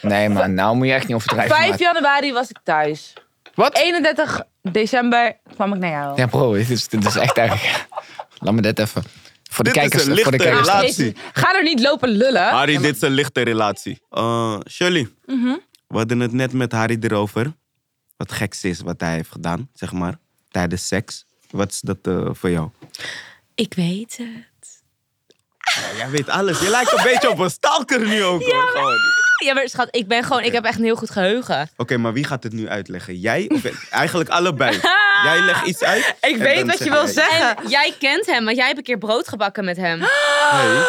Speaker 5: Nee, maar nou moet je echt niet overdrijven.
Speaker 4: 5
Speaker 5: maat.
Speaker 4: januari was ik thuis.
Speaker 5: Wat?
Speaker 4: 31 december kwam ik naar jou.
Speaker 5: Ja, bro, dit is, dit is echt erg. Laat me dit even. Voor de
Speaker 3: Dit is
Speaker 5: kijkers.
Speaker 3: een
Speaker 5: voor de
Speaker 3: lichte
Speaker 5: kijkers.
Speaker 3: relatie.
Speaker 4: Jezus, Ga er niet lopen lullen.
Speaker 3: Harry, dit is een lichte relatie. Eh Shirley,
Speaker 4: Mhm.
Speaker 3: we hadden het net met Harry erover. Wat geks is wat hij heeft gedaan, zeg maar, tijdens seks. Wat is dat eh, voor jou?
Speaker 1: Ik weet het.
Speaker 3: jij weet alles. Je lijkt een beetje op een stalker nu ook. hoor, gewoon. Oké,
Speaker 1: Ja, maar schat, ik ben gewoon, ik heb echt een heel goed geheugen.
Speaker 3: maar wie gaat het nu uitleggen? Jij
Speaker 4: <laughs>
Speaker 3: of eigenlijk allebei? Jij legt iets uit.
Speaker 4: Ik
Speaker 3: en
Speaker 4: weet
Speaker 3: dan
Speaker 4: wat
Speaker 3: zeg
Speaker 4: je wil
Speaker 3: jij-
Speaker 4: zeggen.
Speaker 1: En jij kent hem, want jij hebt een keer brood gebakken met hem. <gasps>
Speaker 3: Nee,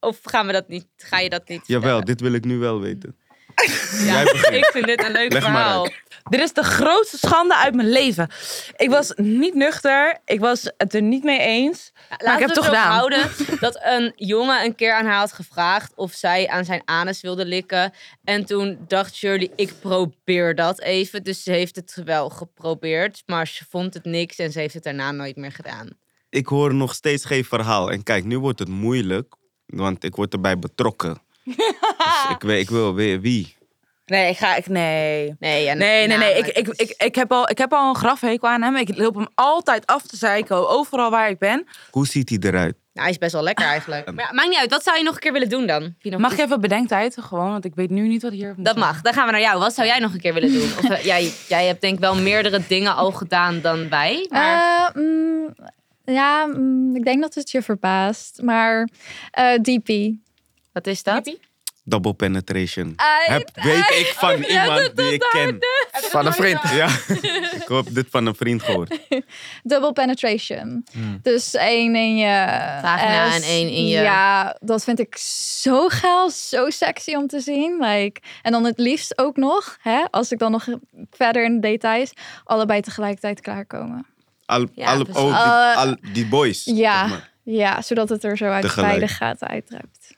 Speaker 1: Of gaan we dat niet, ga je dat niet?
Speaker 3: jawel, dit wil ik nu wel weten.
Speaker 1: vertellen?
Speaker 3: jij
Speaker 1: Ja,
Speaker 3: begint.
Speaker 1: ik vind dit een leuk
Speaker 3: Leg maar
Speaker 1: verhaal.
Speaker 3: uit.
Speaker 4: Dit is de grootste schande uit mijn leven. Ik was niet nuchter. Ik was het er niet mee eens.
Speaker 1: Laten
Speaker 4: maar ik heb
Speaker 1: we
Speaker 4: het toch
Speaker 1: erop
Speaker 4: gedaan.
Speaker 1: houden
Speaker 4: <laughs>
Speaker 1: dat een jongen een keer aan haar had gevraagd of zij aan zijn anus wilde likken. En toen dacht Shirley, ik probeer dat even. Dus ze heeft het wel geprobeerd, maar ze vond het niks en ze heeft het daarna nooit meer gedaan.
Speaker 3: Ik hoor nog steeds geen verhaal. En kijk, nu wordt het moeilijk, want ik word erbij betrokken.
Speaker 4: <laughs>
Speaker 3: Dus ik, weet, ik wil weer wie.
Speaker 4: Nee, ik ga ik. Nee.
Speaker 1: Nee, ja,
Speaker 4: Nee, nee,
Speaker 1: nou,
Speaker 4: nee. Ik,
Speaker 1: maar
Speaker 4: ik,
Speaker 1: het
Speaker 4: ik,
Speaker 1: is-
Speaker 4: ik, heb al, ik heb al een grafhekel aan hem. Ik loop hem altijd af te zeiken. Overal waar ik ben.
Speaker 3: Hoe ziet hij eruit?
Speaker 1: Nou, hij is best wel lekker
Speaker 4: Ah.
Speaker 1: eigenlijk. Maar ja, maakt niet uit. Wat zou je nog een keer willen doen dan? Heb je nog
Speaker 4: Mag
Speaker 1: iets-
Speaker 4: ik even bedenktijd? Gewoon, want ik weet nu niet wat hier. moet
Speaker 1: Dat
Speaker 4: zijn.
Speaker 1: mag. Dan gaan we naar jou. Wat zou jij nog een keer willen doen? Of,
Speaker 4: <laughs>
Speaker 1: eh, jij, jij hebt denk ik wel meerdere dingen al gedaan dan wij. Maar...
Speaker 2: Eh, mm, ja, mm, ik denk dat het je verbaast. Maar eh, DP.
Speaker 1: Wat is dat?
Speaker 3: Double penetration.
Speaker 2: Ai,
Speaker 3: Heb, weet ik
Speaker 4: <laughs>
Speaker 3: van iemand die ik ken.
Speaker 5: Van een vriend.
Speaker 3: Ja, ik heb dit van een vriend gehoord.
Speaker 2: Double penetration. Dus één in je
Speaker 1: Vagina
Speaker 2: ass.
Speaker 1: en één in je-
Speaker 2: Ja, dat vind ik zo geil, zo sexy om te zien. Like, en dan het liefst ook nog, hè, als ik dan nog verder in de details, allebei tegelijkertijd klaarkomen.
Speaker 3: Al,
Speaker 1: Ja,
Speaker 3: al,
Speaker 1: dus
Speaker 3: oh, die,
Speaker 4: Eh,
Speaker 2: alle-
Speaker 3: al, die boys.
Speaker 2: Ja,
Speaker 3: zeg maar.
Speaker 2: ja, zodat het er zo uit
Speaker 3: Tegelijk.
Speaker 2: beide gaten uitdruipt.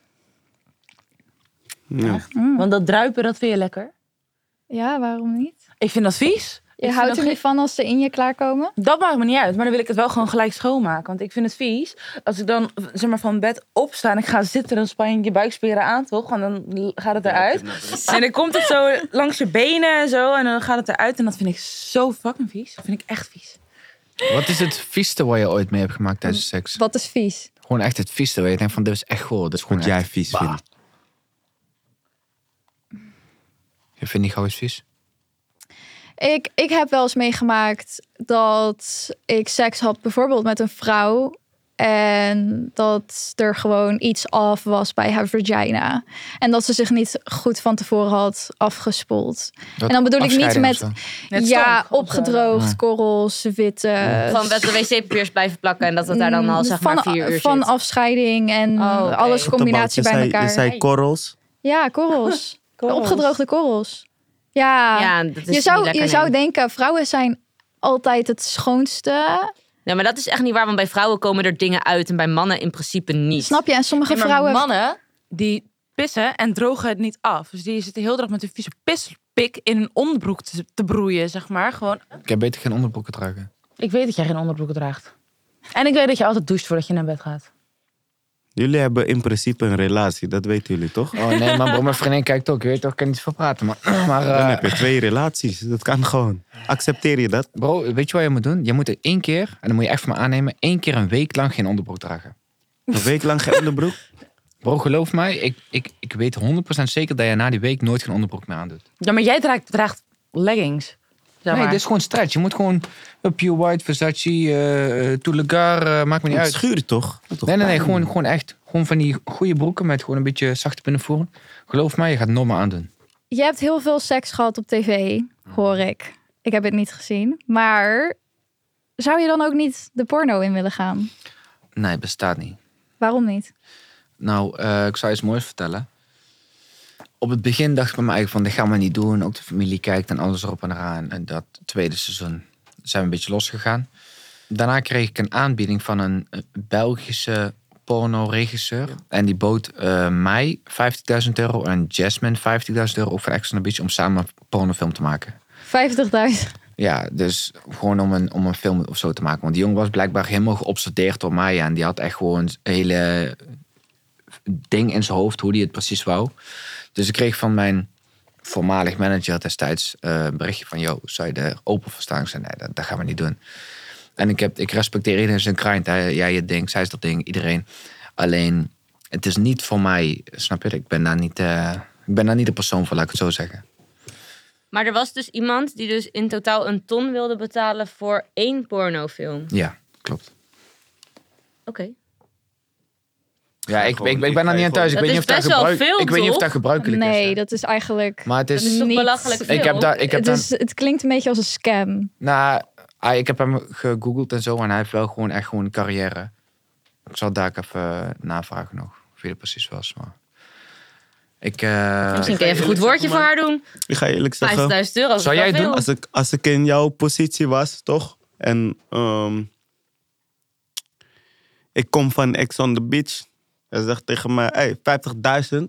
Speaker 3: Ja.
Speaker 4: Want dat druipen, dat vind je lekker.
Speaker 2: Ja, waarom niet?
Speaker 4: Ik vind dat vies.
Speaker 2: Je
Speaker 4: Ik vind
Speaker 2: houdt
Speaker 4: dat
Speaker 2: er niet van als ze in je klaarkomen?
Speaker 4: Dat maakt me niet uit, maar dan wil ik het wel gewoon gelijk schoonmaken. Want ik vind het vies. Als ik dan zeg maar, van bed opsta en ik ga zitten, dan span je je buikspieren aan, toch? En dan l- gaat het eruit. En dan komt het zo langs je benen en zo. En dan gaat het eruit. En dat vind ik zo fucking vies. Dat vind ik echt vies.
Speaker 5: Wat is het vieste waar je ooit mee hebt gemaakt tijdens seks?
Speaker 2: Wat is vies?
Speaker 5: Gewoon echt het vieste waar je denkt van dit is echt goor. Dit is gewoon
Speaker 3: Wat jij
Speaker 5: echt-
Speaker 3: vies
Speaker 5: Bah.
Speaker 3: vindt.
Speaker 5: Je vindt niet gauw iets vies?
Speaker 2: Ik, ik heb wel eens meegemaakt dat ik seks had bijvoorbeeld met een vrouw. En dat er gewoon iets af was bij haar vagina. En dat ze zich niet goed van tevoren had afgespoeld.
Speaker 5: Dat
Speaker 2: en dan bedoel ik niet
Speaker 5: afscheiding
Speaker 2: met.
Speaker 5: of
Speaker 4: Net
Speaker 2: ja,
Speaker 1: eh,
Speaker 4: stank of zo.
Speaker 2: opgedroogd,
Speaker 5: Ja.
Speaker 2: korrels, witte.
Speaker 1: Gewoon met de wc-papiers blijven plakken en dat het daar dan al zeg maar
Speaker 2: van,
Speaker 1: vier uur
Speaker 2: Van
Speaker 1: zit.
Speaker 2: afscheiding en
Speaker 1: Oh, oké.
Speaker 2: alles combinatie bij
Speaker 3: je zei,
Speaker 2: elkaar.
Speaker 3: Je zei korrels.
Speaker 2: Ja, korrels.
Speaker 4: Korrels.
Speaker 2: Opgedroogde korrels. Ja.
Speaker 1: Ja, dat is
Speaker 2: je
Speaker 1: Dus
Speaker 2: zou,
Speaker 1: niet lekker,
Speaker 2: je zou
Speaker 1: nee.
Speaker 2: denken, vrouwen zijn altijd het schoonste.
Speaker 1: Nee, maar dat is echt niet waar, want bij vrouwen komen er dingen uit en bij mannen in principe niet.
Speaker 2: Snap je? En sommige
Speaker 4: Nee, maar
Speaker 2: vrouwen...
Speaker 4: mannen die pissen en drogen het niet af. Dus die zitten heel de dag met een vieze pispik in hun onderbroek te, te broeien, zeg maar. Gewoon.
Speaker 5: zo. Ik heb beter geen onderbroeken dragen.
Speaker 4: Ik weet dat jij geen onderbroeken draagt. En ik weet dat je altijd doucht voordat je naar bed gaat.
Speaker 3: Jullie hebben in principe een relatie, dat weten jullie toch?
Speaker 5: Oh nee, maar bro, mijn vriendin kijkt ook. Je weet toch, ik kan niet veel praten. Maar, <clears throat> maar eh,
Speaker 3: Dan heb je twee relaties, dat kan gewoon. Accepteer je dat?
Speaker 5: bro, weet je wat je moet doen? Je moet er één keer, en dan moet je echt van me aannemen, één keer een week lang geen onderbroek dragen.
Speaker 3: Een week lang geen onderbroek?
Speaker 5: Bro, geloof mij, ik, ik, ik weet 100% zeker dat je na die week nooit geen onderbroek meer aandoet.
Speaker 4: Ja, maar jij draagt, draagt leggings. Zeg
Speaker 5: Nee, dus-
Speaker 4: maar.
Speaker 5: dit is gewoon stretch. Je moet gewoon eh, Pure White, Versace, eh eh, Toulegar, eh, maakt me <laughs> niet
Speaker 3: Het
Speaker 5: uit.
Speaker 3: schuurt toch?
Speaker 5: Nee, nee, nee, gewoon, gewoon echt. Gewoon van die goede broeken met gewoon een beetje zachte binnenvoering. Geloof mij, je gaat normaal aandoen.
Speaker 2: Je hebt heel veel seks gehad op tv, hoor ik. Ik heb het niet gezien. Maar zou je dan ook niet de porno in willen gaan?
Speaker 5: Nee, bestaat niet.
Speaker 2: Waarom niet?
Speaker 5: Nou, eh, ik zou je iets moois vertellen. Op het begin dacht ik bij mij van, dit gaan we niet doen. Ook de familie kijkt en alles erop en eraan. En dat tweede seizoen zijn we een beetje losgegaan. Daarna kreeg ik een aanbieding van een eh, Belgische porno-regisseur. En die bood eh, mij 50.000 euro en Jasmine 50.000 euro ook voor extra een beetje om samen een pornofilm te maken.
Speaker 2: 50.000.
Speaker 5: Ja, dus gewoon om een, om een film of zo te maken. Want die jongen was blijkbaar helemaal geobsedeerd door Maya. En die had echt gewoon een hele ding in zijn hoofd hoe hij het precies wou. Dus ik kreeg van mijn voormalig manager destijds eh, een berichtje van... Yo, zou je er open voor staan? Ik zei, nee, dat, dat gaan we niet doen. En ik, heb, ik respecteer iedereen zijn grind. Hij, jij je ding, zij is dat ding, iedereen. Alleen, het is niet voor mij, snap je? Ik ben daar niet, eh, ik ben daar niet de persoon voor, laat ik het zo zeggen.
Speaker 1: Maar er was dus iemand die dus in totaal een ton wilde betalen voor één pornofilm. Oké.
Speaker 5: Ja, klopt. Ja, ik, ik, ik ben er niet aan thuis. Ik
Speaker 1: Dat
Speaker 5: weet niet
Speaker 1: is
Speaker 5: of dat
Speaker 1: best wel
Speaker 5: gebruik,
Speaker 1: veel,
Speaker 5: ik weet niet of dat
Speaker 1: toch?
Speaker 5: gebruikelijk is.
Speaker 2: Nee,
Speaker 5: hè.
Speaker 2: dat is eigenlijk...
Speaker 5: Maar het
Speaker 1: Dat is
Speaker 5: is.
Speaker 1: toch
Speaker 2: Niet-
Speaker 1: belachelijk veel?
Speaker 5: Ik heb daar, ik heb
Speaker 2: het,
Speaker 5: daar,
Speaker 2: is, het klinkt een beetje als een scam.
Speaker 5: nou, ah, ik heb hem gegoogeld en zo en hij heeft wel gewoon echt gewoon een carrière. Ik zal daar ook even eh, navragen nog of hij er precies was, maar ik. eh,
Speaker 1: Misschien kun je even een goed woordje voor haar doen.
Speaker 3: Ik ga eerlijk zeggen,
Speaker 1: 5000 euro. dat is
Speaker 5: Zou
Speaker 1: wel
Speaker 5: jij het
Speaker 1: veel.
Speaker 5: doen?
Speaker 3: als ik, als ik in jouw positie was, toch? En ehm, ik kom van Ex on the Beach. Hij zegt tegen mij, hey, 50.000.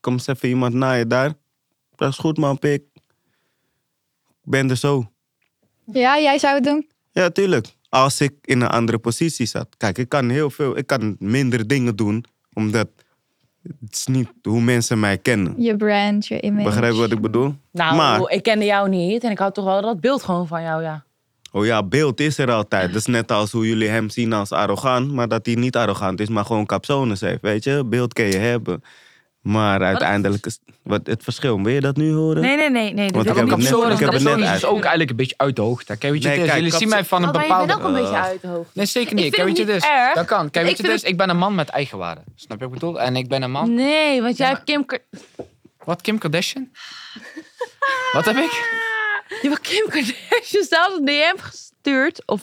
Speaker 3: Kom eens even iemand na je daar. Dat is goed man, pik. Ik ben er zo.
Speaker 2: Ja, jij zou het doen?
Speaker 3: Ja, tuurlijk. Als ik in een andere positie zat. Kijk, ik kan heel veel, ik kan minder dingen doen, omdat het is niet hoe mensen mij kennen.
Speaker 2: Je brand, je image.
Speaker 3: Begrijp je wat ik bedoel?
Speaker 4: Nou,
Speaker 3: Maar-
Speaker 4: ik kende jou niet en ik had toch wel dat beeld gewoon van jou, ja.
Speaker 3: Oh ja, beeld is er altijd. Dat is net als hoe jullie hem zien als arrogant, maar dat hij niet arrogant is, maar gewoon capsones heeft, weet je? Beeld kan je hebben. Maar uiteindelijk is wat, het verschil. Wil je dat nu horen?
Speaker 4: Nee, nee, nee. nee
Speaker 3: Want
Speaker 4: dit wil
Speaker 3: ik heb
Speaker 4: niet.
Speaker 3: hem net-
Speaker 5: Kapsalon
Speaker 3: ik heb het net
Speaker 5: is
Speaker 3: uit.
Speaker 5: dus ook eigenlijk een beetje uit de hoogte. Kijk, weet je,
Speaker 3: Nee,
Speaker 5: het is?
Speaker 3: kijk,
Speaker 5: jullie zien
Speaker 3: kapsel-
Speaker 5: mij van een
Speaker 4: Oh, maar je
Speaker 5: bepaalde...
Speaker 4: bent ook een beetje uit de hoogte.
Speaker 5: Nee, zeker
Speaker 4: Ik
Speaker 5: niet.
Speaker 4: vind
Speaker 5: Kijk, weet
Speaker 4: het
Speaker 5: je,
Speaker 4: niet
Speaker 5: dus.
Speaker 4: erg.
Speaker 5: Dat kan. Kijk, weet
Speaker 4: Ik
Speaker 5: je,
Speaker 4: vind Mm.
Speaker 5: dus. Ik ben een man met eigenwaarde. Snap je wat ik bedoel? En ik ben een man...
Speaker 4: Nee, want jij hebt Kim... Kar- <laughs>
Speaker 5: Wat, Kim Kardashian? Wat heb ik?
Speaker 4: Je hebt Kim Kardashian zelfs een DM gestuurd. Of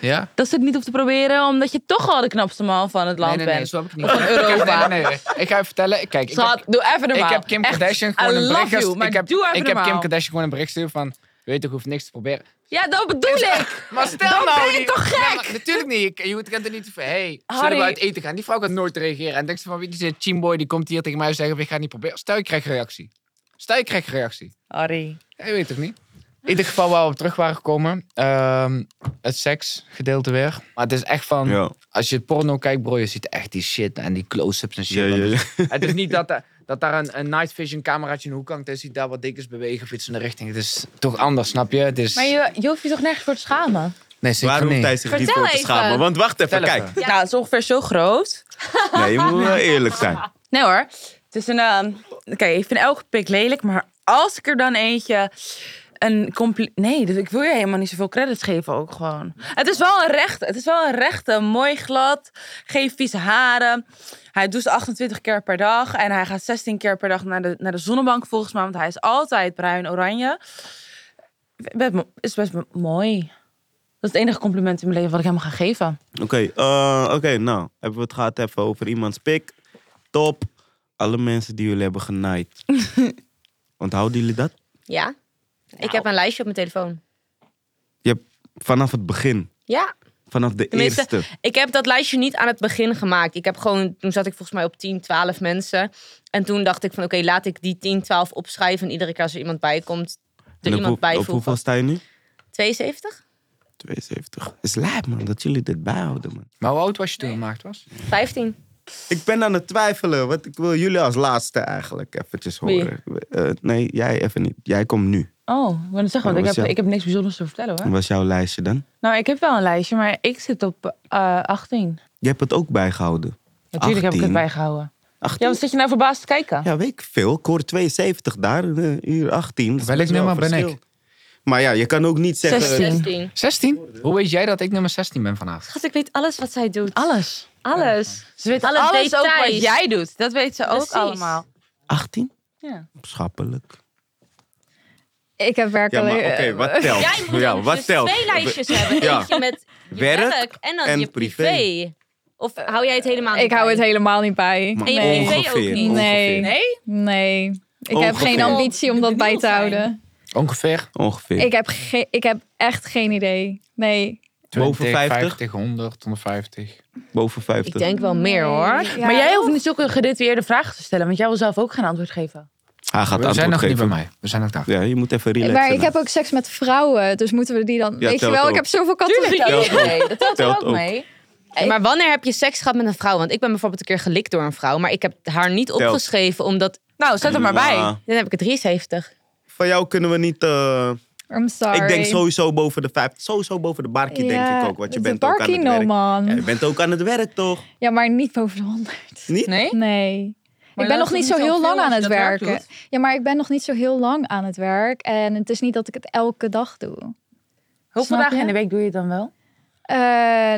Speaker 5: Ja?
Speaker 4: dat zit niet op te proberen, omdat je toch al de knapste man van het land
Speaker 5: Nee, nee, nee,
Speaker 4: bent.
Speaker 5: zo heb ik niet.
Speaker 4: Van <laughs> Europa.
Speaker 5: Nee, nee, nee. Ik ga je vertellen. Kijk, ik
Speaker 4: Schat,
Speaker 5: heb,
Speaker 4: doe even normaal.
Speaker 5: ik heb Kim
Speaker 4: Echt,
Speaker 5: Kardashian
Speaker 4: I
Speaker 5: gewoon een
Speaker 4: love
Speaker 5: bericht...
Speaker 4: you,
Speaker 5: gestuurd.
Speaker 4: maar
Speaker 5: ik heb,
Speaker 4: doe even
Speaker 5: ik heb Kim
Speaker 4: normaal.
Speaker 5: Kardashian gewoon een bericht gestuurd van... Weet toch, hoef niks te proberen.
Speaker 4: Ja, dat bedoel ik.
Speaker 5: Maar stel
Speaker 4: Dan
Speaker 5: nou...
Speaker 4: ben je
Speaker 5: die-
Speaker 4: toch gek?
Speaker 5: Nee, maar natuurlijk niet. Ik- Je kent er niet van... Hey, zullen
Speaker 4: Harry.
Speaker 5: we uit eten gaan? Die vrouw gaat nooit reageren. En denkt ze van... Wie is dit chimboy? Die komt hier tegen mij zeggen... Ik ga het niet proberen. Stel, ik krijg een reactie. Stel, ik krijg een reactie.
Speaker 4: Harry.
Speaker 5: Ik weet het niet. In ieder geval waar we op terug waren gekomen. ehm, het seksgedeelte weer. Maar het is echt van...
Speaker 3: Ja.
Speaker 5: Als je porno kijkt, bro, je ziet echt die shit en die close-ups en shit.
Speaker 3: Ja, ja,
Speaker 5: Want
Speaker 3: ja.
Speaker 5: het- Het is niet dat, daar- dat daar een, een night vision cameraatje in de hoek hangt. Je ziet daar wat dikkers bewegen, fietsen in de richting. Het is toch anders, snap je? Het is...
Speaker 4: Maar je, je hoeft je toch nergens voor te schamen?
Speaker 5: Nee, zeker
Speaker 3: Waarom
Speaker 5: niet.
Speaker 3: Thijs zich
Speaker 1: Vertel
Speaker 3: hiervoor te
Speaker 1: even.
Speaker 3: schamen? Want wacht even,
Speaker 5: Vertel
Speaker 3: kijk.
Speaker 5: even.
Speaker 4: Nou, het is ongeveer zo groot.
Speaker 3: Nee, je moet wel eerlijk zijn.
Speaker 4: Nee hoor. Het is een. ehm, Oké, ik vind elke pik lelijk, maar als ik er dan eentje. Een compli- nee, dus ik wil je helemaal niet zoveel credits geven ook gewoon. Het is wel een rechte, het is wel een rechte, mooi glad, geen vieze haren. Hij doet 28 keer per dag en hij gaat 16 keer per dag naar de, naar de zonnebank volgens mij, want hij is altijd bruin-oranje. Best mo- Is best mo- mooi. Dat is het enige compliment in mijn leven wat ik hem ga geven.
Speaker 3: Oké, eh, oké, nou. Hebben we het gehad even over iemands pik. Top. Alle mensen die jullie hebben
Speaker 4: <laughs>
Speaker 3: genaaid. Onthouden jullie dat?
Speaker 1: Ja. Ik heb een lijstje op mijn telefoon.
Speaker 3: Je hebt vanaf het begin.
Speaker 1: Ja.
Speaker 3: Vanaf de
Speaker 1: Tenminste,
Speaker 3: eerste.
Speaker 1: Ik heb dat lijstje niet aan het begin gemaakt. Ik heb gewoon, toen zat ik volgens mij op 10, 12 mensen. En toen dacht ik van oké, laat ik die 10, 12 opschrijven. En iedere keer als er iemand bij komt, er
Speaker 3: En op,
Speaker 1: iemand
Speaker 3: hoe-
Speaker 1: bij
Speaker 3: op hoeveel
Speaker 1: voegen.
Speaker 3: sta je nu?
Speaker 1: 72?
Speaker 3: 72. Het is lijp, man, dat jullie dit bijhouden, man.
Speaker 5: Maar hoe oud was je toen het gemaakt was?
Speaker 1: 15?
Speaker 3: Ik ben aan het twijfelen, want ik wil jullie als laatste eigenlijk eventjes
Speaker 4: Wie?
Speaker 3: horen. Eh, nee, jij even niet. Jij komt nu.
Speaker 4: Oh, maar dan zeg
Speaker 3: maar,
Speaker 4: maar,
Speaker 3: dat was
Speaker 4: ik heb,
Speaker 3: jou.
Speaker 4: ik heb niks bijzonders te vertellen hoor.
Speaker 3: Wat was jouw lijstje dan?
Speaker 4: Nou, ik heb wel een lijstje, maar ik zit op eh 18.
Speaker 3: Je hebt het ook bijgehouden.
Speaker 4: Natuurlijk heb ik het
Speaker 3: 18.
Speaker 4: bijgehouden. Ja,
Speaker 3: 18?
Speaker 4: wat zit je nou verbaasd te kijken?
Speaker 3: Ja, weet ik veel. Ik hoor 72 daar, eh, uur 18. Dat is
Speaker 5: Welk
Speaker 3: best wel
Speaker 5: nummer
Speaker 3: een
Speaker 5: ben
Speaker 3: verschil.
Speaker 5: ik?
Speaker 3: Maar ja, je kan ook niet zeggen...
Speaker 4: 16.
Speaker 1: 16.
Speaker 5: 16? Hoe weet jij dat ik nummer 16 ben vanavond?
Speaker 1: Schat, ik weet alles wat zij doet.
Speaker 4: Alles.
Speaker 1: Alles.
Speaker 4: Ze weet
Speaker 1: Alle
Speaker 4: alles ook wat
Speaker 1: details.
Speaker 4: jij doet. Dat weet ze ook
Speaker 1: Precies.
Speaker 4: allemaal.
Speaker 3: 18?
Speaker 4: Ja.
Speaker 3: Schappelijk.
Speaker 2: Ik heb
Speaker 3: Ja,
Speaker 2: werkelijk...
Speaker 3: maar oké,
Speaker 2: eh,
Speaker 3: wat telt?
Speaker 1: Jij moet
Speaker 3: ja, wat
Speaker 1: dus
Speaker 3: telt?
Speaker 1: twee lijstjes hebben.
Speaker 3: <laughs> Ja.
Speaker 1: Eentje met je
Speaker 3: Werk
Speaker 1: werk, en dan
Speaker 3: en
Speaker 1: je privé. Of hou jij het helemaal niet
Speaker 2: Ik hou
Speaker 1: bij?
Speaker 2: het helemaal niet bij.
Speaker 3: Maar
Speaker 1: En je
Speaker 2: Nee.
Speaker 1: privé ook
Speaker 3: ongeveer,
Speaker 1: niet.
Speaker 2: Nee.
Speaker 3: ongeveer.
Speaker 2: Nee. Ik heb
Speaker 3: Ongeveer.
Speaker 2: geen ambitie om dat bij te houden.
Speaker 5: Ongeveer
Speaker 3: Ongeveer.
Speaker 2: Ik heb, ge- ik heb echt geen idee. Nee.
Speaker 5: 20,
Speaker 3: Boven 50?
Speaker 5: 100, 150.
Speaker 3: Boven 50.
Speaker 1: Ik denk wel meer hoor.
Speaker 2: Nee.
Speaker 4: maar
Speaker 2: Ja,
Speaker 4: jij hoeft niet zulke gedetailleerde vragen te stellen, want jij wil zelf ook geen antwoord geven.
Speaker 3: Hij Ah, gaat
Speaker 5: We zijn
Speaker 3: antwoord
Speaker 5: nog niet bij
Speaker 3: geven.
Speaker 5: mij. We zijn nog daar.
Speaker 3: Ja, je moet even relaxen.
Speaker 2: Maar ik heb ook seks met vrouwen, dus moeten we die dan... weet je
Speaker 3: telt
Speaker 2: wel,
Speaker 3: ook.
Speaker 2: ik heb zoveel categorieën.
Speaker 3: Telt ook.
Speaker 4: Nee, dat telt er
Speaker 3: Telt
Speaker 4: ook
Speaker 3: ook.
Speaker 4: mee.
Speaker 1: Maar wanneer heb je seks gehad met een vrouw? Want ik ben bijvoorbeeld een keer gelikt door een vrouw, maar ik heb haar niet
Speaker 3: Telt.
Speaker 1: opgeschreven omdat
Speaker 4: Nou, zet er maar bij.
Speaker 3: Maar
Speaker 1: dan heb ik het 73.
Speaker 3: Van jou kunnen we niet... eh,
Speaker 2: I'm sorry.
Speaker 3: Ik denk sowieso boven de 50. Sowieso boven de barkie denk ik ook. Want je bent ook aan het
Speaker 2: no
Speaker 3: werk. Ja, je
Speaker 2: man.
Speaker 3: bent ook aan het werk, toch?
Speaker 2: Ja, maar niet boven de 100.
Speaker 3: Niet?
Speaker 4: Nee?
Speaker 2: Nee. ik ben
Speaker 4: dat
Speaker 2: nog
Speaker 4: is
Speaker 2: niet
Speaker 4: niet
Speaker 2: zo heel
Speaker 4: zoveel
Speaker 2: lang
Speaker 4: als
Speaker 2: aan
Speaker 4: je
Speaker 2: het
Speaker 4: dat werk
Speaker 2: werken. Ja, maar ik ben nog niet zo heel lang aan het werk. En het is niet dat ik het elke dag doe.
Speaker 4: Hoeveel
Speaker 2: Snap
Speaker 4: dagen
Speaker 2: je?
Speaker 4: in de week doe je het dan wel?
Speaker 2: Eh,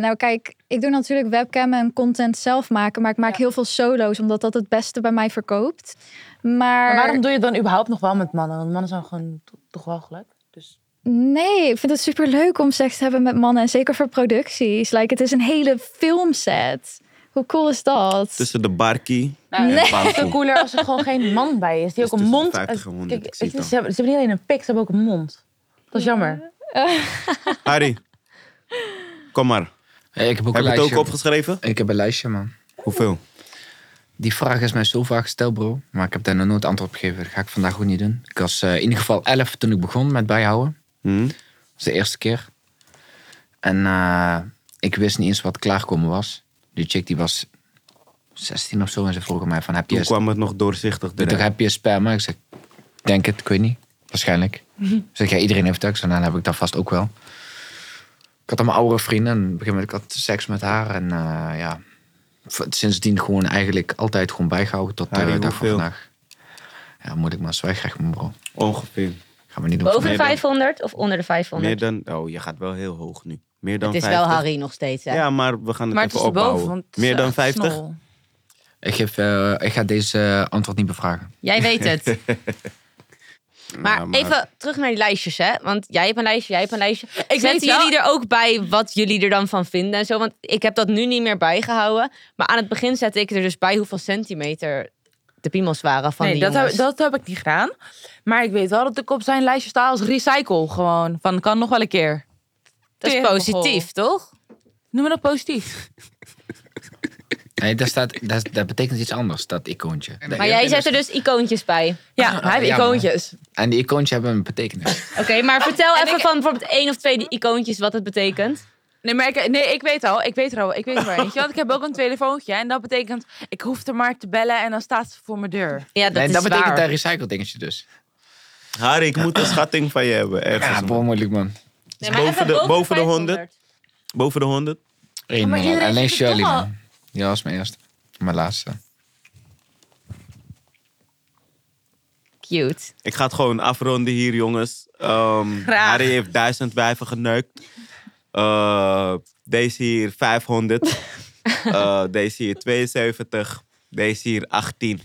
Speaker 2: nou, kijk, ik doe natuurlijk webcam en content zelf maken. Maar ik maak heel veel solo's, omdat dat het beste bij mij verkoopt. Maar,
Speaker 4: Maar waarom doe je het dan überhaupt nog wel met mannen? Want mannen zijn gewoon to- toch wel gelijk. Dus...
Speaker 2: Nee, ik vind het superleuk om seks te hebben met mannen. En zeker voor producties. Like, het is een hele filmset. Hoe cool is dat?
Speaker 3: Tussen de barkie
Speaker 4: Nou,
Speaker 3: en
Speaker 4: Het
Speaker 2: <laughs>
Speaker 4: is
Speaker 3: Panko.
Speaker 4: veel cooler als er gewoon geen man bij is. Die
Speaker 3: Dus
Speaker 4: ook een
Speaker 3: tussen
Speaker 4: mond.
Speaker 3: 50 en 100, ik
Speaker 4: Kijk,
Speaker 3: zie het
Speaker 4: het is-
Speaker 3: al.
Speaker 4: ze, hebben, ze hebben niet alleen een pik, ze hebben ook een mond. Dat is jammer.
Speaker 3: Harry, kom maar.
Speaker 5: Hey, ik heb ook
Speaker 3: Heb
Speaker 5: een
Speaker 3: je het
Speaker 5: lijstje.
Speaker 3: ook opgeschreven?
Speaker 5: Ik heb een lijstje, man.
Speaker 3: Hoeveel?
Speaker 5: Die vraag is mij zo vaak gesteld, bro. Maar ik heb daar nog nooit antwoord op gegeven. Dat ga ik vandaag ook niet doen. Ik was eh, in ieder geval 11 toen ik begon met bijhouden.
Speaker 3: Hm?
Speaker 5: Dat was de eerste keer. En eh, ik wist niet eens wat klaarkomen was. Die chick die was 16 of zo. En ze vroeg aan mij van, heb je,
Speaker 3: Toen
Speaker 5: een-
Speaker 3: kwam het nog doorzichtig
Speaker 5: toch,
Speaker 3: eruit.
Speaker 5: heb je een sperma? Ik zeg, "Ik denk het, ik weet niet. Waarschijnlijk. Ik zeg, ja, iedereen heeft dat. Ik zeg, nou, dan heb ik dat vast ook wel. Ik had allemaal oudere vrienden. En op een gegeven moment ik had seks met haar. En eh, ja, v- sindsdien gewoon eigenlijk altijd gewoon bijgehouden tot de
Speaker 3: Harry,
Speaker 5: dag van
Speaker 3: hoeveel?
Speaker 5: vandaag. Ja, moet ik maar zwijgen, bro.
Speaker 3: Ongeveer.
Speaker 5: Gaan we niet doen.
Speaker 1: Boven de
Speaker 3: meer dan-
Speaker 1: 500 of onder de 500?
Speaker 3: Meer dan... Oh, je gaat wel heel hoog nu. Meer dan
Speaker 1: het is
Speaker 3: 50.
Speaker 1: wel Harry nog steeds. Hè?
Speaker 3: Ja, maar we gaan het
Speaker 4: Maar het
Speaker 3: even
Speaker 4: is
Speaker 3: opbouwen.
Speaker 4: boven, want het is
Speaker 3: Meer dan
Speaker 4: echt
Speaker 3: 50?
Speaker 4: snol.
Speaker 5: Ik, geef, eh, ik ga deze eh, antwoord niet bevragen.
Speaker 1: Jij weet
Speaker 3: <laughs>
Speaker 1: het. Maar,
Speaker 3: Ja,
Speaker 1: even terug naar die lijstjes, hè? Want jij hebt een lijstje, jij hebt een lijstje. Ik
Speaker 4: weet
Speaker 1: Zetten
Speaker 4: wel-
Speaker 1: jullie er ook bij wat jullie er dan van vinden en zo? Want ik heb dat nu niet meer bijgehouden. Maar aan het begin zette ik er dus bij hoeveel centimeter de piemels waren van
Speaker 4: nee,
Speaker 1: die
Speaker 4: dat heb,
Speaker 1: jongens.
Speaker 4: dat heb ik niet gedaan. Maar ik weet wel dat ik op zijn lijstje sta als recycle. Gewoon, van kan nog wel een keer.
Speaker 1: Dat is
Speaker 4: Tegengoal.
Speaker 1: positief, toch?
Speaker 4: Noem me dat positief.
Speaker 5: Nee, daar staat, daar, dat betekent iets anders, dat icoontje.
Speaker 1: Maar jij zet er dus icoontjes bij.
Speaker 4: Ja,
Speaker 3: Ah,
Speaker 4: hij heeft
Speaker 5: ja,
Speaker 4: icoontjes.
Speaker 5: En die icoontje hebben een
Speaker 1: <laughs>
Speaker 5: betekenis.
Speaker 1: Oké, maar vertel even van bijvoorbeeld één of twee die icoontjes wat het betekent.
Speaker 4: Nee, maar ik, nee, ik weet al. Ik weet er al. Ik weet er maar eentje. Want ik heb
Speaker 3: <laughs>
Speaker 4: ook een telefoontje. En dat betekent, ik hoef er maar te bellen en dan staat ze voor mijn deur.
Speaker 1: Ja, dat
Speaker 5: nee,
Speaker 1: is
Speaker 5: dat betekent
Speaker 1: waar.
Speaker 5: dat recycle dingetje dus.
Speaker 3: Harry, ik moet een schatting van je hebben. Ergens.
Speaker 5: Ja, bro, moeilijk man.
Speaker 1: Nee,
Speaker 3: boven
Speaker 1: even
Speaker 3: de- boven de
Speaker 1: 500.
Speaker 3: Boven de 100?
Speaker 1: Oh,
Speaker 5: Eén man.
Speaker 4: iedereen
Speaker 5: Alleen
Speaker 4: zit er
Speaker 5: Shirley
Speaker 4: toch
Speaker 5: man. Die was mijn eerste. Mijn laatste.
Speaker 1: Cute.
Speaker 3: Ik ga het gewoon afronden hier, jongens. Ehm
Speaker 4: Graag.
Speaker 3: Harry heeft duizend wijven geneukt. Eh, deze hier 500. Eh, deze hier 72. Deze hier 18.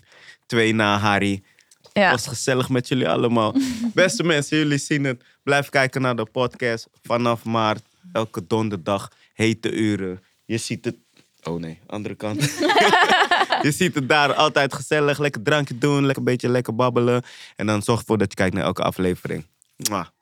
Speaker 3: Twee na Harry.
Speaker 4: Ja.
Speaker 3: was gezellig met jullie allemaal. Beste mensen, jullie zien het. Blijf kijken naar de podcast. Vanaf maart, elke donderdag, hete uren. Je ziet het. Oh nee, andere kant. je ziet het daar altijd gezellig. Lekker drankje doen, lekker een beetje lekker babbelen. En dan zorg ervoor dat je kijkt naar elke aflevering. Mwah.